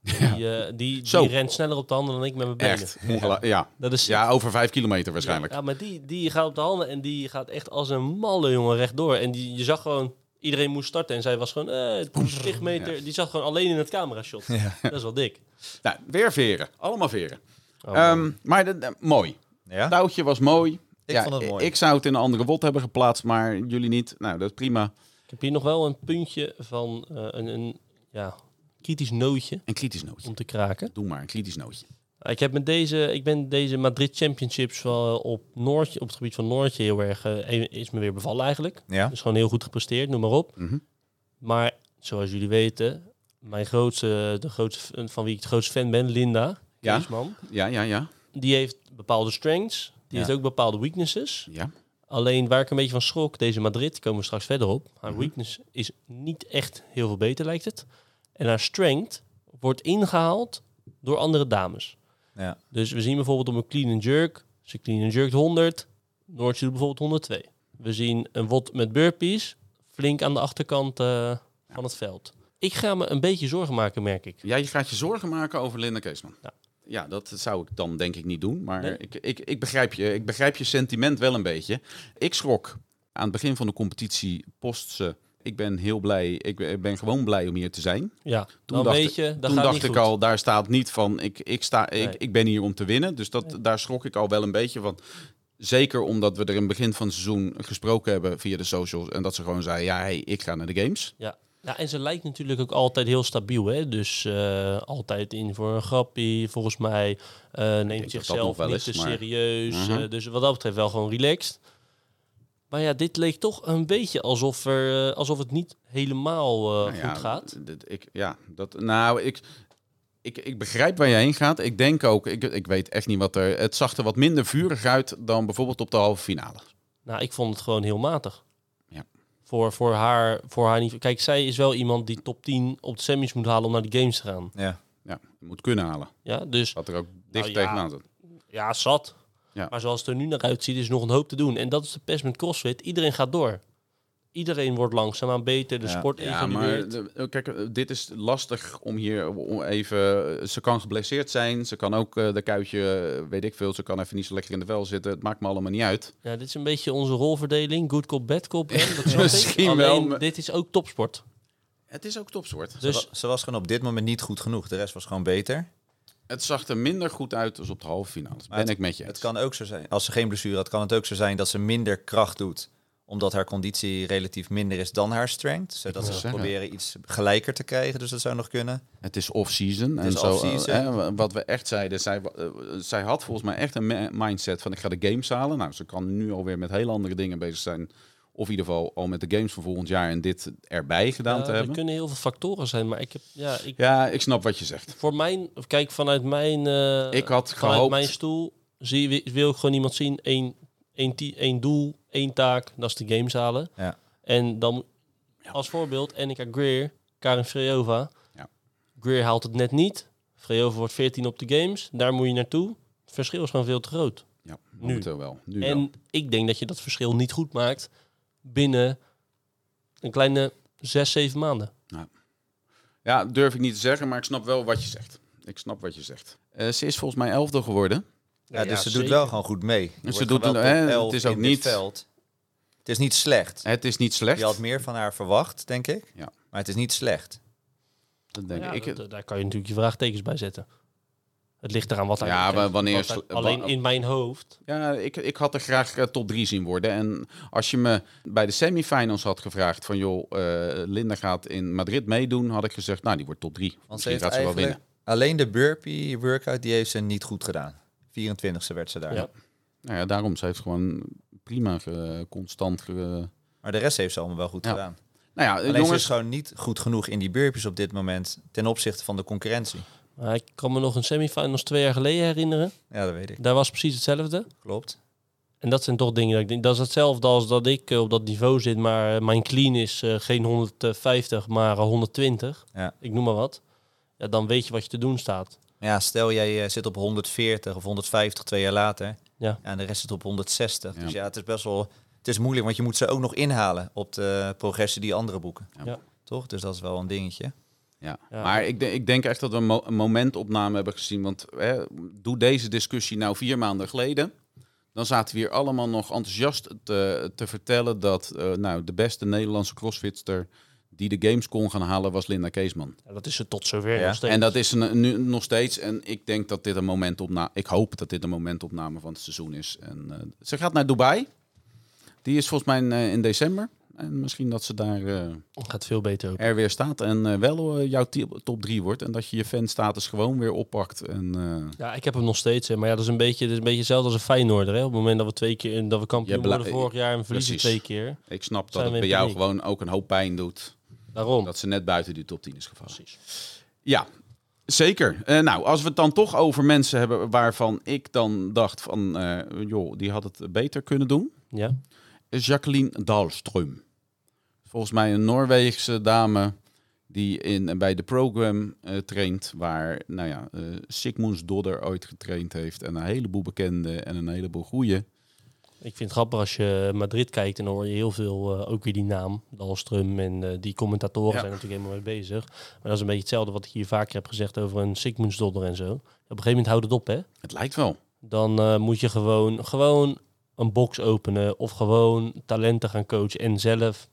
Speaker 1: Die, eh, die,
Speaker 2: Zo.
Speaker 1: die rent sneller op de handen dan ik met mijn benen.
Speaker 2: Echt. Ongela- ja.
Speaker 1: Dat is
Speaker 2: ja, over vijf kilometer waarschijnlijk.
Speaker 1: Ja, maar die, die gaat op de handen en die gaat echt als een malle jongen rechtdoor. En die, je zag gewoon, iedereen moest starten en zij was gewoon, eh, het moest tig meter. Die zat gewoon alleen in het camerashot. Dat is wel dik.
Speaker 2: Nou, weer veren. Allemaal veren.
Speaker 1: Oh,
Speaker 2: Ehm,
Speaker 1: man.
Speaker 2: maar de- de- mooi.
Speaker 4: Ja?
Speaker 2: Het touwtje was mooi.
Speaker 4: Ik vond het mooi.
Speaker 2: Ik zou het in een andere wot hebben geplaatst, maar jullie niet. Nou, dat is prima.
Speaker 1: Ik heb hier nog wel een puntje van eh, een, een ja, kritisch nootje
Speaker 2: Een kritisch nootje.
Speaker 1: om te kraken. Ah,
Speaker 2: Doe maar, een kritisch nootje.
Speaker 1: Ik, heb met deze, ik ben deze Madrid Championships wel op, Noordje, op het gebied van Noordje heel erg... eh, is me weer bevallen eigenlijk.
Speaker 4: Ja?
Speaker 1: Dus gewoon heel goed gepresteerd, noem maar op.
Speaker 2: Mhm.
Speaker 1: Maar zoals jullie weten, mijn grootste, de grootste, van wie ik het grootste fan ben, Linda
Speaker 2: Ja.
Speaker 1: Keesman,
Speaker 2: Ja, ja, ja.
Speaker 1: die heeft bepaalde strengths, die
Speaker 4: Ja.
Speaker 1: heeft ook bepaalde weaknesses.
Speaker 2: ja.
Speaker 1: Alleen waar ik een beetje van schrok, deze Madrid, komen we straks verder op. Haar
Speaker 2: Mhm.
Speaker 1: weakness is niet echt heel veel beter, lijkt het. En haar strength wordt ingehaald door andere dames.
Speaker 4: Ja.
Speaker 1: Dus we zien bijvoorbeeld op een clean and jerk, ze clean and jerkt 100, Noortje doet bijvoorbeeld 102. We zien een wot met burpees, flink aan de achterkant eh, van het veld. Ik ga me een beetje zorgen maken, merk ik.
Speaker 2: Jij gaat je zorgen maken over Linda Keesman. Ja.
Speaker 1: Ja.
Speaker 2: dat zou ik dan denk ik niet doen. Maar
Speaker 1: Nee.
Speaker 2: ik, ik, ik, begrijp je, ik begrijp je sentiment wel een beetje. Ik schrok aan het begin van de competitie post ze. Ik ben heel blij. Ik ben- ik ben gewoon blij om hier te zijn.
Speaker 1: Ja,
Speaker 2: Toen
Speaker 1: dan
Speaker 2: dacht
Speaker 1: weet je, dat
Speaker 2: Toen
Speaker 1: gaat
Speaker 2: dacht
Speaker 1: niet
Speaker 2: ik
Speaker 1: goed.
Speaker 2: al, daar staat niet van, ik, ik, sta, ik,
Speaker 1: Nee.
Speaker 2: ik ben hier om te winnen. Dus dat, daar schrok ik al wel een beetje van. Zeker omdat we er in het begin van het seizoen gesproken hebben via de socials. En dat ze gewoon zei, ja, hey, ik ga naar de games.
Speaker 1: Ja. ja, en ze lijkt natuurlijk ook altijd heel stabiel. Hè? Dus eh, altijd in voor een grappie, volgens mij. eh,
Speaker 2: dat
Speaker 1: neemt
Speaker 2: nog
Speaker 1: zichzelf
Speaker 2: wel
Speaker 1: niet
Speaker 2: is,
Speaker 1: te
Speaker 2: maar-
Speaker 1: serieus.
Speaker 2: Mhm.
Speaker 1: eh, dus wat dat betreft wel gewoon relaxed. Maar ja, dit leek toch een beetje alsof, er, eh, alsof het niet helemaal eh,
Speaker 2: Nou ja,
Speaker 1: goed gaat.
Speaker 2: dit- ik, ja, dat, nou, ik, ik, ik begrijp waar je heen gaat. Ik denk ook, ik, ik weet echt niet wat er... Het zag er wat minder vurig uit dan bijvoorbeeld op de halve finale.
Speaker 1: Nou, ik vond het gewoon heel matig.
Speaker 2: Ja.
Speaker 1: Voor, voor, haar, voor haar niveau. Kijk, zij is wel iemand die top 10 op de semis moet halen om naar de games te gaan.
Speaker 4: Ja.
Speaker 2: Ja, je moet kunnen halen.
Speaker 1: Ja, dus
Speaker 2: Wat er ook
Speaker 4: Nou
Speaker 2: dicht
Speaker 1: ja.
Speaker 2: tegenaan zat.
Speaker 1: ja, zat.
Speaker 2: Ja.
Speaker 1: Maar zoals het er nu naar uitziet, is nog een hoop te doen. En dat is de pest met CrossFit. Iedereen gaat door. Iedereen wordt langzaamaan beter. De
Speaker 4: Ja.
Speaker 1: sport
Speaker 2: Ja, maar
Speaker 1: evolueert.
Speaker 2: de- kijk, eh, dit is lastig om hier om even. eh, Ze kan geblesseerd zijn, ze kan ook eh, de kuitje, eh, weet ik veel, ze kan even niet zo lekker in de vel zitten. Het maakt me allemaal niet uit.
Speaker 1: Ja, dit is een beetje onze rolverdeling. Good cop, bad cop. hè? Dat
Speaker 2: Misschien
Speaker 1: Misschien
Speaker 2: wel,
Speaker 1: Alleen,
Speaker 2: maar-
Speaker 1: dit is ook topsport.
Speaker 2: Het is ook topsoort.
Speaker 4: Ze,
Speaker 1: Dus
Speaker 4: wa- ze was gewoon op dit moment niet goed genoeg. De rest was gewoon beter.
Speaker 2: Het zag er minder goed uit als op de halve finale. Dat
Speaker 4: Maar
Speaker 2: Ben ik met je.
Speaker 4: Het
Speaker 2: eens.
Speaker 4: kan ook zo zijn, als ze geen blessure had, kan het ook zo zijn dat ze minder kracht doet. Omdat haar conditie relatief minder is dan haar strength. Zodat
Speaker 2: wou
Speaker 4: ze
Speaker 2: zeggen.
Speaker 4: proberen iets gelijker te krijgen. Dus dat zou nog kunnen.
Speaker 2: Het is off-season. En
Speaker 4: is
Speaker 2: zo,
Speaker 4: off-season.
Speaker 2: eh, hè, wat we echt zeiden, zij, wa- eh, zij had volgens mij echt een ma- mindset van ik ga de games halen. Nou, ze kan nu alweer met hele andere dingen bezig zijn. Of in ieder geval al met de games van volgend jaar en dit erbij gedaan
Speaker 1: ja,
Speaker 2: te
Speaker 1: eh, er
Speaker 2: hebben.
Speaker 1: kunnen heel veel factoren zijn. Maar ik heb, ja, ik,
Speaker 2: Ja, ik snap wat je zegt.
Speaker 1: voor mijn, kijk, vanuit mijn, eh,
Speaker 2: Ik had
Speaker 1: vanuit
Speaker 2: gehoopt-
Speaker 1: mijn stoel zie, wil ik gewoon iemand zien. Eén, één, ti- één doel, één taak. Dat is de games halen.
Speaker 4: Ja.
Speaker 1: En dan als voorbeeld Annika Greer, Karin Frejova.
Speaker 2: Ja.
Speaker 1: Greer haalt het net niet. Frejova wordt 14 op de games. Daar moet je naartoe. Het verschil is gewoon veel te groot.
Speaker 2: Ja, momenteel wel. Nu wel.
Speaker 1: En ik denk dat je dat verschil niet goed maakt binnen een kleine 6, 7 maanden.
Speaker 2: Ja, durf ik niet te zeggen, maar ik snap wel wat je zegt. Ik snap wat je zegt. Eh, ze is volgens mij elfde geworden.
Speaker 4: Ja, dus ze doet
Speaker 1: zeker.
Speaker 4: wel gewoon goed mee. Je wordt
Speaker 2: Dus doet
Speaker 4: gewoon wel
Speaker 2: wel-
Speaker 4: top
Speaker 2: hè,
Speaker 4: elf
Speaker 2: het is ook
Speaker 4: in dit
Speaker 2: niet-
Speaker 4: Veld. Het is niet slecht.
Speaker 2: Het is niet slecht.
Speaker 4: Je had meer van haar verwacht, denk ik.
Speaker 2: Ja.
Speaker 4: Maar het is niet slecht.
Speaker 2: Dat denk
Speaker 1: Ja,
Speaker 2: ik. ik.
Speaker 1: dat- eh, daar kan je natuurlijk je vraagtekens bij zetten. Het ligt eraan wat hij
Speaker 2: Ja,
Speaker 1: betreft.
Speaker 2: wa- wanneer
Speaker 1: Want
Speaker 2: sl-
Speaker 1: hij- Alleen
Speaker 2: wa-
Speaker 1: in mijn hoofd.
Speaker 2: Ja, nou, ik, ik had er graag eh, top drie zien worden. En als je me bij de semifinals had gevraagd van... joh, eh, Linda gaat in Madrid meedoen, had ik gezegd... nou, die wordt top drie.
Speaker 4: Want ze
Speaker 2: Misschien
Speaker 4: heeft
Speaker 2: gaat ze wel
Speaker 4: eigenlijk
Speaker 2: winnen.
Speaker 4: alleen de burpee workout, die heeft ze niet goed gedaan. 24e werd ze daar.
Speaker 1: Ja.
Speaker 2: Nou ja, daarom. Ze heeft gewoon prima ge- constant... ge-
Speaker 4: Maar de rest heeft ze allemaal wel goed
Speaker 2: Ja.
Speaker 4: gedaan.
Speaker 2: Nou ja,
Speaker 4: Alleen ze is
Speaker 2: jongens...
Speaker 4: gewoon niet goed genoeg in die burpees op dit moment ten opzichte van de concurrentie.
Speaker 1: Maar ik kan me nog een semifinals twee jaar geleden herinneren.
Speaker 4: Ja, dat weet ik.
Speaker 1: Daar was precies hetzelfde.
Speaker 4: Klopt.
Speaker 1: En dat zijn toch dingen dat ik denk. Dat is hetzelfde als dat ik eh, op dat niveau zit, maar eh, mijn clean is eh, geen 150, maar eh, 120.
Speaker 4: Ja.
Speaker 1: Ik noem maar wat. Ja, dan weet je wat je te doen staat.
Speaker 4: Ja, stel jij eh, zit op 140 of 150 twee jaar later.
Speaker 1: Ja.
Speaker 4: en de rest zit op 160.
Speaker 2: Ja.
Speaker 4: Dus ja, het is best wel het is moeilijk, want je moet ze ook nog inhalen op de progressie die anderen boeken.
Speaker 1: Ja.
Speaker 4: Toch? Dus dat is wel een dingetje.
Speaker 2: Ja.
Speaker 1: Ja.
Speaker 2: Maar ik, denk- ik denk echt dat we een, mo- een momentopname hebben gezien. Want hè, doe deze discussie nou vier maanden geleden. Dan zaten we hier allemaal nog enthousiast te, te vertellen dat eh, nou, de beste Nederlandse crossfitster die de games kon gaan halen was Linda Keesman.
Speaker 1: Ja, dat is ze tot zover
Speaker 4: Ja,
Speaker 1: nog steeds.
Speaker 2: En dat is een, nu nog steeds. En ik denk dat dit een momentopname. Ik hoop dat dit een momentopname van het seizoen is. En, eh, ze gaat naar Dubai. Die is volgens mij in, eh, in december. En misschien dat ze daar eh,
Speaker 1: gaat veel beter ook.
Speaker 2: er weer staat en eh, wel eh, jouw ti- top 3 wordt. En dat je je fanstatus gewoon weer oppakt. En, eh,
Speaker 1: Ja, ik heb hem nog steeds. Hè. Maar ja, dat is een beetje, dat is een beetje hetzelfde als een Feyenoorder. Hè. Op het moment dat we twee keer dat we kampioen
Speaker 2: Je bla-
Speaker 1: worden vorig jaar en verliezen
Speaker 2: Precies.
Speaker 1: twee keer.
Speaker 2: ik snap dat
Speaker 1: Zijn
Speaker 2: het
Speaker 1: we
Speaker 2: bij
Speaker 1: in
Speaker 2: jou
Speaker 1: paniek?
Speaker 2: gewoon ook een hoop pijn doet.
Speaker 1: Daarom.
Speaker 2: Dat ze net buiten die top 10 is gevallen.
Speaker 1: Precies.
Speaker 2: Ja, zeker. Eh, nou, als we het dan toch over mensen hebben waarvan ik dan dacht van... eh, joh, die had het beter kunnen doen.
Speaker 1: Ja.
Speaker 2: Is Jacqueline Dahlström. Volgens mij een Noorweegse dame die in, bij de program eh, traint... waar nou ja, eh Sigmunds Dodder ooit getraind heeft. En een heleboel bekende en een heleboel goeie.
Speaker 1: Ik vind het grappig als je Madrid kijkt en dan hoor je heel veel, eh, ook weer die naam, Dahlström en eh, die commentatoren
Speaker 2: Ja.
Speaker 1: zijn natuurlijk helemaal mee bezig. Maar dat is een beetje hetzelfde wat ik hier vaker heb gezegd over een Sigmundsdodder en zo. Op een gegeven moment houdt het op, hè.
Speaker 2: Het lijkt wel.
Speaker 1: Dan eh, moet je gewoon, gewoon een box openen of gewoon talenten gaan coachen en zelf.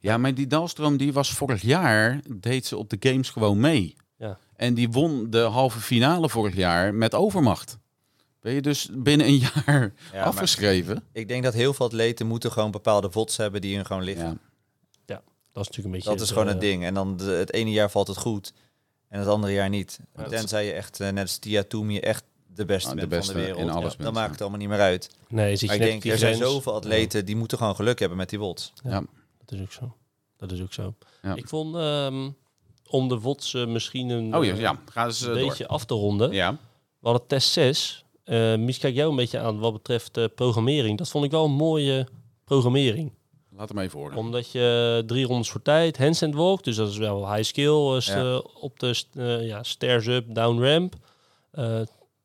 Speaker 2: Ja, maar die Dalstroom die was vorig jaar, deed ze op de games gewoon mee.
Speaker 1: Ja.
Speaker 2: En die won de halve finale vorig jaar met overmacht. Ben je dus binnen een jaar
Speaker 4: maar-
Speaker 2: afgeschreven?
Speaker 4: Ik denk dat heel veel atleten moeten gewoon bepaalde vots hebben die hun gewoon liggen.
Speaker 2: Ja.
Speaker 1: Dat is natuurlijk een beetje...
Speaker 4: Dat is gewoon
Speaker 1: eh,
Speaker 4: het ding. En dan de- het ene jaar valt het goed en het andere jaar niet.
Speaker 1: Ja, dat-
Speaker 4: Tenzij je echt, eh, net als Tia Toomey, echt de beste
Speaker 2: Ah, de
Speaker 4: bent
Speaker 2: beste
Speaker 4: van de wereld.
Speaker 2: in alles
Speaker 4: dan
Speaker 2: bent,
Speaker 4: maakt
Speaker 2: ja.
Speaker 4: het allemaal niet meer uit.
Speaker 1: Nee, zit je
Speaker 4: Maar ik
Speaker 1: net
Speaker 4: denk,
Speaker 1: op die
Speaker 4: er zijn
Speaker 1: grens.
Speaker 4: zoveel atleten die moeten gewoon geluk hebben met die wots.
Speaker 1: Dat is ook zo. Dat is ook zo.
Speaker 2: Ja.
Speaker 1: Ik vond, ehm, om de WOTS eh, misschien een,
Speaker 2: Oh ja, ja. ga eens eh,
Speaker 1: een
Speaker 2: door.
Speaker 1: beetje af te ronden.
Speaker 2: Ja.
Speaker 1: We hadden test 6. Eh Mies, kijk jou een beetje aan wat betreft eh, programmering. Dat vond ik wel een mooie programmering.
Speaker 2: Laat hem even horen.
Speaker 1: Omdat je eh, drie rondes voor tijd, handstand walk, dus dat is wel high skill, eh, st-
Speaker 4: Ja.
Speaker 1: op de st- eh, ja, stairs up, down ramp. Eh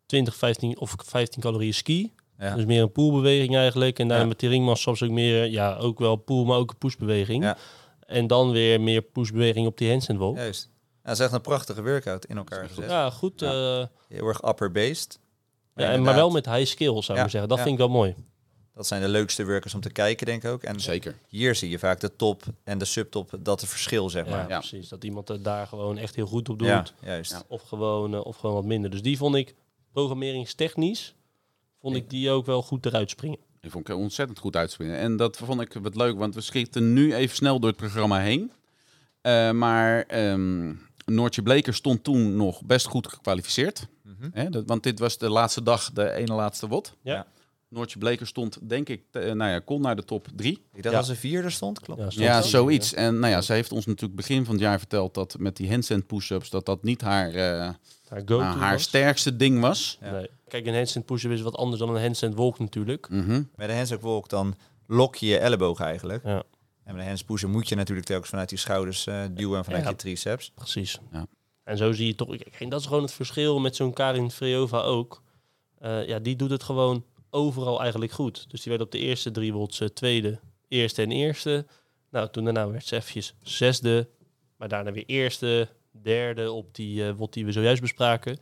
Speaker 1: 20, 15 of 15 calorieën ski.
Speaker 4: Ja.
Speaker 1: Dus meer een poolbeweging eigenlijk. En daarna
Speaker 4: Ja.
Speaker 1: met die ringmas soms ook meer, eh, ja, ook wel pool, maar ook een pushbeweging.
Speaker 4: Ja.
Speaker 1: En dan weer meer pushbeweging op die handstand walk. Ja,
Speaker 4: Juist. Ja, dat is echt een prachtige workout in elkaar gezet.
Speaker 1: goed.
Speaker 2: Ja.
Speaker 1: eh, ja.
Speaker 4: Heel erg upper-based.
Speaker 1: en, maar
Speaker 4: inderdaad.
Speaker 1: wel met high skill, zou ik
Speaker 4: Ja,
Speaker 1: maar zeggen. Dat
Speaker 4: ja.
Speaker 1: vind ik wel mooi.
Speaker 4: Dat zijn de leukste workers om te kijken, denk ik ook. En
Speaker 2: Zeker.
Speaker 4: hier zie je vaak de top en de subtop, dat het verschil, zeg
Speaker 1: Ja,
Speaker 4: maar.
Speaker 2: Ja.
Speaker 1: precies. Dat iemand het daar gewoon echt heel goed op doet.
Speaker 4: juist.
Speaker 2: Ja.
Speaker 1: Of, gewoon, eh, of gewoon wat minder. Dus die vond ik programmeringstechnisch, vond ik die ook wel goed eruit springen.
Speaker 2: Die vond ik ontzettend goed uitspringen. En dat vond ik wat leuk, want we schieten nu even snel door het programma heen. Eh, maar ehm, Noortje Bleker stond toen nog best goed gekwalificeerd.
Speaker 4: Mhm.
Speaker 2: Hè, dat, want dit was de laatste dag, de ene laatste wot.
Speaker 1: Ja.
Speaker 4: Ja.
Speaker 2: Noortje Bleker stond, denk ik, te- eh, nou ja, kon naar de top drie.
Speaker 4: Ik dacht
Speaker 1: Ja.
Speaker 4: dat ze vierde stond, klopt.
Speaker 1: stond
Speaker 2: ja,
Speaker 1: er.
Speaker 2: zoiets. En nou ja, ze heeft ons natuurlijk begin van het jaar verteld dat met die handstand push-ups, dat dat niet haar, eh,
Speaker 1: Haar go-to
Speaker 2: nou, haar
Speaker 1: was.
Speaker 2: sterkste ding was.
Speaker 4: Ja.
Speaker 1: Nee. Kijk, een handstand push-up is wat anders dan een handstand walk natuurlijk.
Speaker 2: Mhm.
Speaker 4: Met de handstand walk dan lok je je elleboog eigenlijk.
Speaker 1: Ja.
Speaker 4: En met de handspusher moet je natuurlijk telkens vanuit die schouders eh, duwen en vanuit
Speaker 1: Ja.
Speaker 4: je triceps.
Speaker 1: Precies.
Speaker 2: Ja.
Speaker 1: En zo zie je toch, kijk, en dat is gewoon het verschil met zo'n Karin Freova ook. Eh, ja, die doet het gewoon overal eigenlijk goed. Dus die werd op de eerste drie wots eh, tweede, eerste en eerste. Nou, toen daarna werd ze eventjes zesde, maar daarna weer eerste, derde op die eh wot die we zojuist bespraken.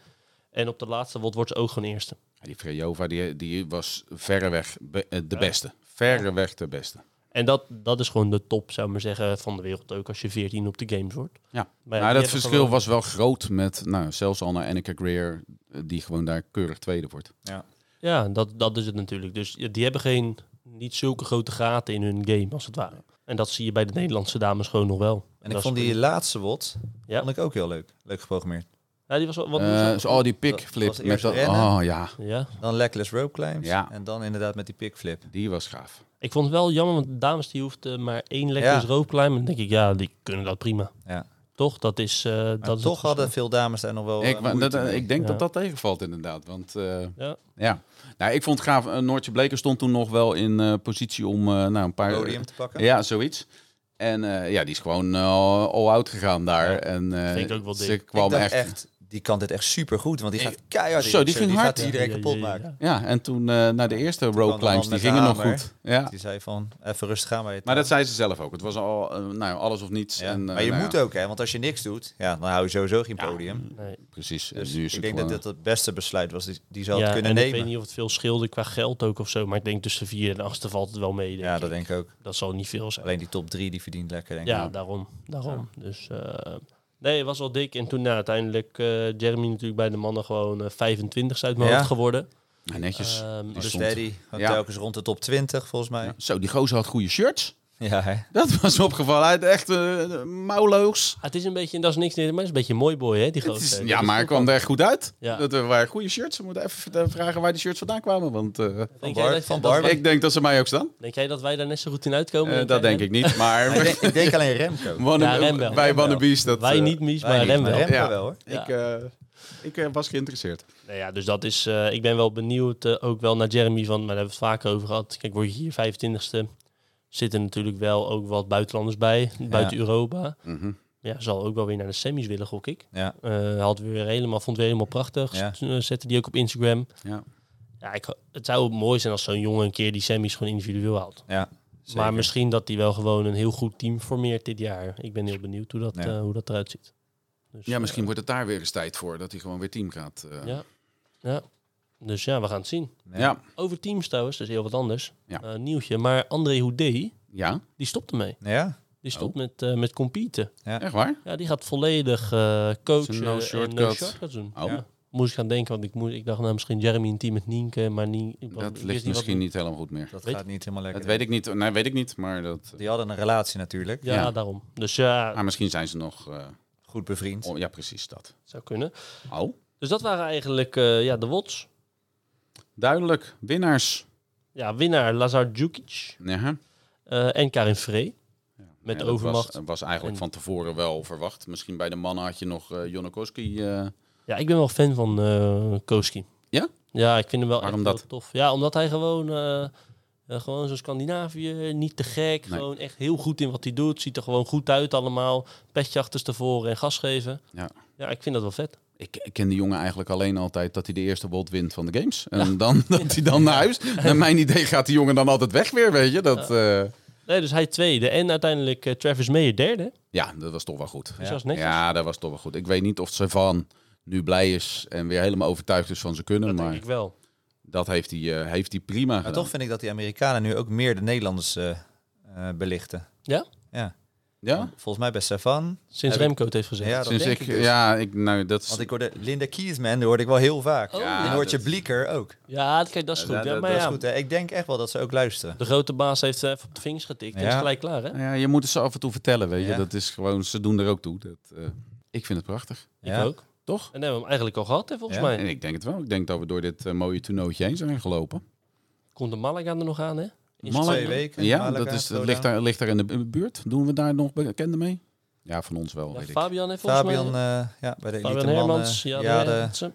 Speaker 1: En op de laatste wot wordt ze ook gewoon eerste.
Speaker 2: Ja, Die Frejova, die, die was verreweg be- eh, de
Speaker 1: Ja.
Speaker 2: beste. Verreweg de beste.
Speaker 1: En dat, dat is gewoon de top, zou ik maar zeggen, van de wereld ook als je 14 op de games wordt.
Speaker 2: Ja.
Speaker 1: Maar ja, die
Speaker 2: nou, dat
Speaker 1: hebben
Speaker 2: verschil
Speaker 1: gewoon-
Speaker 2: was wel groot met nou, zelfs al naar Annika Greer, eh, die gewoon daar keurig tweede wordt.
Speaker 1: Ja, dat, dat is het natuurlijk. Dus ja, die hebben geen, niet zulke grote gaten in hun game, als het ware. En dat zie je bij de Nederlandse dames gewoon nog wel.
Speaker 4: En
Speaker 1: dat
Speaker 4: ik
Speaker 1: is
Speaker 4: vond
Speaker 1: prima.
Speaker 4: die laatste wot
Speaker 1: Ja.
Speaker 4: vond ik ook heel leuk. Leuk geprogrammeerd.
Speaker 1: Ja, die was wel... Wat
Speaker 2: Eh zo, oh, die
Speaker 4: Dat
Speaker 2: pickflip.
Speaker 4: was
Speaker 2: Met
Speaker 4: eerst
Speaker 2: dat,
Speaker 4: rennen.
Speaker 2: oh ja,
Speaker 1: Ja,
Speaker 4: Dan legless rope climbs.
Speaker 2: Ja.
Speaker 4: En dan inderdaad met die pickflip.
Speaker 2: die was gaaf.
Speaker 1: ik vond het wel jammer, want de dames die hoeft eh, maar één lekker ja.
Speaker 4: Ja.
Speaker 1: rope climb. En dan denk ik, ja, die kunnen dat prima.
Speaker 4: Ja.
Speaker 1: Toch? Dat is... eh,
Speaker 4: Maar
Speaker 1: dat is
Speaker 4: toch
Speaker 1: het
Speaker 4: hadden veel dames daar nog wel
Speaker 2: Ik,
Speaker 4: eh,
Speaker 2: wa-
Speaker 4: moeite
Speaker 2: dat, eh,
Speaker 4: mee.
Speaker 2: ik denk
Speaker 1: Ja.
Speaker 2: dat dat tegenvalt inderdaad. Want eh,
Speaker 1: Ja.
Speaker 2: ja. Nou, ik vond het gaaf. eh, Noortje Bleker stond toen nog wel in eh, positie om eh, nou, een paar...
Speaker 4: podium te pakken.
Speaker 2: Ja, zoiets. En eh, ja, die is gewoon eh, all out gegaan daar. En, eh,
Speaker 1: Vind ik ook wel dik.
Speaker 2: Ze
Speaker 1: Ik
Speaker 2: kwam
Speaker 4: ik dacht
Speaker 2: echt...
Speaker 4: echt, die kan dit echt super goed, want die gaat keihard
Speaker 2: Zo, die
Speaker 4: hits,
Speaker 2: ging hard.
Speaker 4: gaat iedereen kapot maken.
Speaker 2: Ja, en toen eh na de eerste road
Speaker 4: kwam de man
Speaker 2: climbs, die
Speaker 4: met de
Speaker 2: gingen nog
Speaker 4: hamer.
Speaker 2: goed. Ja.
Speaker 4: Die zei van, even rustig gaan. Maar,
Speaker 2: Maar dat zei ze zelf ook. Het was al eh, nou, ja, alles of niets.
Speaker 4: ja.
Speaker 2: En, eh,
Speaker 4: maar je
Speaker 2: nou
Speaker 4: moet
Speaker 2: ja,
Speaker 4: ook, hè, want als je niks doet, ja, dan hou je sowieso geen podium.
Speaker 1: Nee.
Speaker 2: Precies.
Speaker 4: Dus
Speaker 2: nu is
Speaker 4: ik
Speaker 2: het
Speaker 4: denk dat
Speaker 2: gewoon-
Speaker 4: dit het beste besluit was die, die ze had
Speaker 1: Ja,
Speaker 4: kunnen
Speaker 1: en
Speaker 4: nemen.
Speaker 1: ik weet niet of het veel scheelde qua geld ook of zo. Maar ik denk tussen vier en achtste valt het wel mee. denk
Speaker 4: ja,
Speaker 1: ik.
Speaker 4: dat denk ik ook.
Speaker 1: Dat zal niet veel zijn.
Speaker 4: Alleen die top 3 die verdient lekker, denk ik.
Speaker 1: ja, daarom. daarom. Dus eh, nee, het was al dik. En toen nou, uiteindelijk eh Jeremy natuurlijk bij de mannen gewoon eh, 25 uit mijn
Speaker 4: Ja.
Speaker 1: hoofd geworden.
Speaker 2: Ja, netjes.
Speaker 1: Ehm,
Speaker 2: Die
Speaker 1: dus
Speaker 2: stond-
Speaker 4: Steady, had
Speaker 2: Ja.
Speaker 4: telkens rond de top 20 volgens mij.
Speaker 2: Ja. Zo, die gozer had goede shirts.
Speaker 4: Ja, hè?
Speaker 2: Dat was opgevallen. Hij had echt eh mouwloos.
Speaker 1: Ah, het is een beetje, en dat is niks, maar het is een beetje een mooi boy, hè, die
Speaker 2: Het is-
Speaker 1: grote.
Speaker 2: ja, maar hij kwam er echt goed uit.
Speaker 1: Ja.
Speaker 2: Dat er waren goede shirts. We moeten even eh, vragen waar die shirts vandaan kwamen. Want eh,
Speaker 1: Denk,
Speaker 4: Van
Speaker 1: jij
Speaker 4: Bar-
Speaker 1: dat,
Speaker 4: van
Speaker 1: dat
Speaker 4: Bar-
Speaker 1: wij-
Speaker 2: ik denk dat ze mij ook staan.
Speaker 1: denk jij dat wij daar net zo goed in uitkomen?
Speaker 2: Eh,
Speaker 1: Denk
Speaker 2: dat
Speaker 1: jij
Speaker 2: denk ik niet. Maar
Speaker 4: Ik denk- ik denk alleen Remco.
Speaker 2: wanne-
Speaker 1: Ja, Rem wel.
Speaker 2: bij
Speaker 4: Rem wel.
Speaker 2: Wannabies... dat,
Speaker 1: Wij
Speaker 2: eh,
Speaker 1: niet, Mies,
Speaker 4: Wij
Speaker 1: maar
Speaker 4: niet,
Speaker 1: Rem
Speaker 4: maar
Speaker 1: wel.
Speaker 4: Remco
Speaker 2: Ja.
Speaker 4: wel, hoor.
Speaker 2: Ik, eh, ik eh, was geïnteresseerd.
Speaker 1: Nou ja, dus dat is. eh, ik ben wel benieuwd eh, ook wel naar Jeremy van, maar daar hebben we het vaker over gehad. Kijk, word je hier 25ste, zitten natuurlijk wel ook wat buitenlanders bij, buiten Europa.
Speaker 2: Mhm.
Speaker 1: Ja, zal ook wel weer naar de semis willen, gok ik.
Speaker 4: Ja.
Speaker 1: Eh, had weer helemaal, vond weer helemaal prachtig.
Speaker 4: Ja.
Speaker 1: Z- eh, Zette die ook op Instagram.
Speaker 2: Ja.
Speaker 1: Ja, ik, het zou mooi zijn als zo'n jongen een keer die semis gewoon individueel haalt.
Speaker 4: Ja, zeker.
Speaker 1: Maar misschien dat hij wel gewoon een heel goed team formeert dit jaar. Ik ben heel benieuwd hoe dat,
Speaker 4: Ja.
Speaker 1: eh, hoe dat eruit ziet. Dus,
Speaker 2: Ja, misschien wordt het daar weer eens tijd voor. Dat hij gewoon weer team gaat. eh.
Speaker 1: Ja. Ja. Dus ja, we gaan het zien.
Speaker 2: ja.
Speaker 1: Over teams trouwens, dat is heel wat anders.
Speaker 2: Ja.
Speaker 1: Eh, nieuwtje, maar André Houdé,
Speaker 2: Ja,
Speaker 1: die stopt ermee.
Speaker 4: Ja,
Speaker 1: Die stopt met, eh, met competen.
Speaker 2: echt waar?
Speaker 1: Ja, die gaat volledig eh coachen
Speaker 2: no
Speaker 1: en
Speaker 2: shortcut.
Speaker 1: no shortcuts doen.
Speaker 2: Oh.
Speaker 1: Ja. Moest ik gaan denken, want ik, moest, ik dacht nou misschien Jeremy een team met Nienke, maar Nien, ik, ik
Speaker 2: Dat
Speaker 1: wist
Speaker 2: ligt
Speaker 1: niet wat-
Speaker 2: misschien niet helemaal goed meer.
Speaker 4: dat
Speaker 1: Weet-
Speaker 4: gaat niet helemaal lekker.
Speaker 2: Dat weet ik niet. Nee, weet ik niet. Maar, dat,
Speaker 4: Die hadden een relatie natuurlijk.
Speaker 1: Ja,
Speaker 2: Ja. Ah.
Speaker 1: daarom. Dus ja,
Speaker 2: maar misschien zijn ze nog... eh,
Speaker 4: Goed bevriend.
Speaker 2: oh, ja, precies dat.
Speaker 1: zou kunnen.
Speaker 2: Oh,
Speaker 1: Dus dat waren eigenlijk eh, ja, de Wots.
Speaker 2: duidelijk. Winnaars.
Speaker 1: Ja, winnaar Lazar Djukic
Speaker 2: Ja, hè?
Speaker 1: eh, en Karin Vree. Met
Speaker 2: Ja, dat
Speaker 1: overmacht.
Speaker 2: was, was eigenlijk
Speaker 1: En-
Speaker 2: van tevoren wel verwacht. Misschien bij de mannen had je nog eh Jonokowski. eh,
Speaker 1: Ja, ik ben wel fan van eh Koski.
Speaker 2: Ja?
Speaker 1: Ja, ik vind hem wel
Speaker 2: Waarom
Speaker 1: echt
Speaker 2: dat?
Speaker 1: heel tof. Ja, omdat hij gewoon, eh, eh, gewoon zo'n Scandinavië, niet te gek.
Speaker 2: Nee.
Speaker 1: Gewoon echt heel goed in wat hij doet. Ziet er gewoon goed uit allemaal. Petje achterstevoren en gas geven.
Speaker 2: Ja.
Speaker 1: ja, ik vind dat wel vet.
Speaker 2: ik, ik ken die jongen eigenlijk alleen altijd dat hij de eerste bot wint van de games. En dan dat hij dan naar huis. Naar mijn idee gaat die jongen dan altijd weg weer, weet je. Dat, eh,
Speaker 1: Nee, dus hij tweede. En uiteindelijk eh, Travis Mayer derde.
Speaker 2: ja, dat was toch wel goed.
Speaker 1: Dus
Speaker 4: Ja.
Speaker 1: dat is netjes.
Speaker 2: Ja, dat was toch wel goed. Ik weet niet of ze van nu blij is en weer helemaal overtuigd is van ze kunnen.
Speaker 1: dat
Speaker 2: maar
Speaker 1: denk ik wel.
Speaker 2: dat heeft hij, eh, heeft hij prima
Speaker 4: Maar
Speaker 2: gedaan.
Speaker 4: toch vind ik dat die Amerikanen nu ook meer de Nederlanders eh, eh, belichten.
Speaker 1: Ja?
Speaker 4: Ja.
Speaker 2: Ja?
Speaker 4: Volgens mij bij Savan.
Speaker 1: Sinds
Speaker 4: Heb ik-
Speaker 1: Remco het heeft gezegd.
Speaker 4: Ja, dat
Speaker 2: Sinds
Speaker 4: denk
Speaker 2: ik,
Speaker 4: ik, dus.
Speaker 2: ja, ik, nou, dat is...
Speaker 4: Want ik hoorde Linda Kiesman, die hoorde ik wel heel vaak.
Speaker 1: Oh,
Speaker 2: Ja,
Speaker 4: en
Speaker 2: dat-
Speaker 4: hoort je Blieker ook.
Speaker 1: Ja, dat- kijk, dat is
Speaker 2: Ja,
Speaker 1: goed. Ja,
Speaker 2: dat-
Speaker 1: maar
Speaker 4: Dat is
Speaker 1: ja,
Speaker 4: goed, hè? Ik denk echt wel dat ze ook luisteren.
Speaker 1: de grote baas heeft eh, even op de vingers getikt. En is
Speaker 4: Ja.
Speaker 1: gelijk klaar, hè?
Speaker 2: Nou Ja, je moet het ze af en toe vertellen, weet je.
Speaker 4: Ja.
Speaker 2: Dat is gewoon, ze doen er ook toe. Dat, eh, ik vind het prachtig,
Speaker 4: Ja.
Speaker 1: Ik ook.
Speaker 2: toch?
Speaker 1: En hebben we hem eigenlijk al gehad, hè, volgens
Speaker 4: Ja.
Speaker 1: mij.
Speaker 2: En ik denk het wel. Ik denk dat we door dit eh, mooie toernooitje heen zijn gelopen.
Speaker 1: Komt de Malaga er nog aan, hè? Is
Speaker 2: Malaga?
Speaker 4: Twee weken.
Speaker 2: ja,
Speaker 4: Malaga,
Speaker 2: dat, is, dat
Speaker 4: Roda.
Speaker 2: ligt, daar, ligt daar in de bu- buurt. Doen we daar nog bekenden mee? Ja, van ons wel,
Speaker 1: Ja,
Speaker 2: weet ik.
Speaker 1: Fabian heeft volgens
Speaker 4: Fabian,
Speaker 1: mij...
Speaker 4: eh, ja, bij de elite
Speaker 1: Fabian
Speaker 4: mannen.
Speaker 1: Hermans, ja,
Speaker 4: ja,
Speaker 1: de,
Speaker 4: de,
Speaker 1: Hermansen.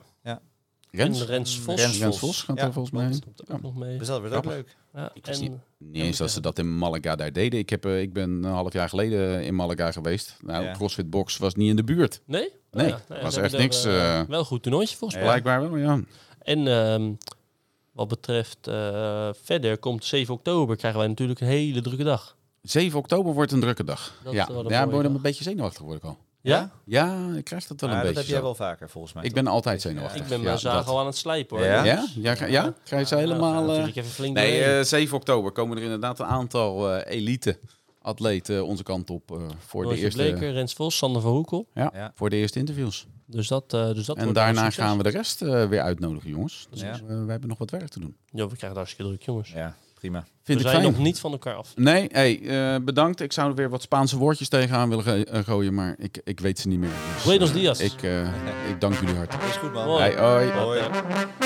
Speaker 2: Rens?
Speaker 1: En Rens Vos.
Speaker 4: Rens
Speaker 2: Rens
Speaker 4: Vos.
Speaker 2: Vos gaat
Speaker 4: Ja,
Speaker 2: er volgens mij heen.
Speaker 1: Komt
Speaker 2: Ja.
Speaker 1: ook nog mee.
Speaker 4: dus dat wordt ook
Speaker 2: Grappig.
Speaker 4: leuk.
Speaker 1: Ja,
Speaker 2: Ik wist
Speaker 1: en-
Speaker 2: niet- Niet eens dat ze dat in Malaga daar deden. Ik, heb, eh, ik ben een half jaar geleden in Malaga geweest. Nou,
Speaker 4: Ja.
Speaker 2: CrossFit Box was niet in de buurt.
Speaker 1: Nee? Oh
Speaker 2: Nee,
Speaker 1: ja, nou ja,
Speaker 2: was
Speaker 1: ze
Speaker 2: echt
Speaker 1: hebben
Speaker 2: niks,
Speaker 1: er, eh,
Speaker 2: eh.
Speaker 1: wel een goed toernooitje volgens mij.
Speaker 2: Blijkbaar wel, ja.
Speaker 1: En ehm, wat betreft eh, verder komt 7 oktober krijgen wij natuurlijk een hele drukke dag.
Speaker 2: 7 oktober wordt een drukke dag.
Speaker 1: Dat
Speaker 2: ja,
Speaker 1: is wel een
Speaker 2: ja ik
Speaker 1: mooie
Speaker 2: word
Speaker 1: dag.
Speaker 2: een beetje zenuwachtig word ik al.
Speaker 1: Ja?
Speaker 2: Ja, ik krijg dat wel
Speaker 4: Maar
Speaker 2: een
Speaker 4: Ah, dat
Speaker 2: beetje
Speaker 4: heb jij
Speaker 2: zo.
Speaker 4: wel vaker, volgens mij.
Speaker 2: Ik
Speaker 4: toch?
Speaker 2: ben altijd zenuwachtig.
Speaker 1: Ik ben
Speaker 2: ja,
Speaker 1: mijn zaag
Speaker 2: dat.
Speaker 1: al aan het slijpen hoor. nou,
Speaker 4: Ja?
Speaker 2: Ja? Ja, ga, ja? Ga je ze helemaal... eh,
Speaker 1: natuurlijk even flink
Speaker 2: Nee,
Speaker 1: doorheen.
Speaker 2: eh, 7 oktober komen er inderdaad een aantal eh, elite atleten onze kant op eh, voor, de
Speaker 1: Noortje
Speaker 2: eerste,
Speaker 1: Bleker, Rens Vos, Sander van Hoekel.
Speaker 2: ja,
Speaker 4: Ja.
Speaker 2: voor de eerste interviews.
Speaker 1: Dus dat, eh, dus dat wordt
Speaker 2: en
Speaker 1: wel
Speaker 2: daarna
Speaker 1: een succes.
Speaker 2: gaan we de rest eh, weer uitnodigen, jongens. Dus
Speaker 4: Ja.
Speaker 2: eh, we hebben nog wat werk te doen.
Speaker 1: Ja, we krijgen het hartstikke druk jongens.
Speaker 4: Ja, prima.
Speaker 1: we
Speaker 2: Vind ik
Speaker 1: zijn
Speaker 2: fijn.
Speaker 1: nog niet van elkaar af.
Speaker 2: Nee, hey, eh, bedankt. Ik zou er weer wat Spaanse woordjes tegenaan willen ge- eh, gooien, maar ik, ik weet ze niet meer. Dus,
Speaker 1: Buenos
Speaker 2: eh,
Speaker 1: dias.
Speaker 2: Ik, eh, ik dank jullie hartelijk.
Speaker 4: Is goed, man.
Speaker 1: Mooi.
Speaker 2: Hey, hoi.
Speaker 4: Hoi.
Speaker 1: Ja.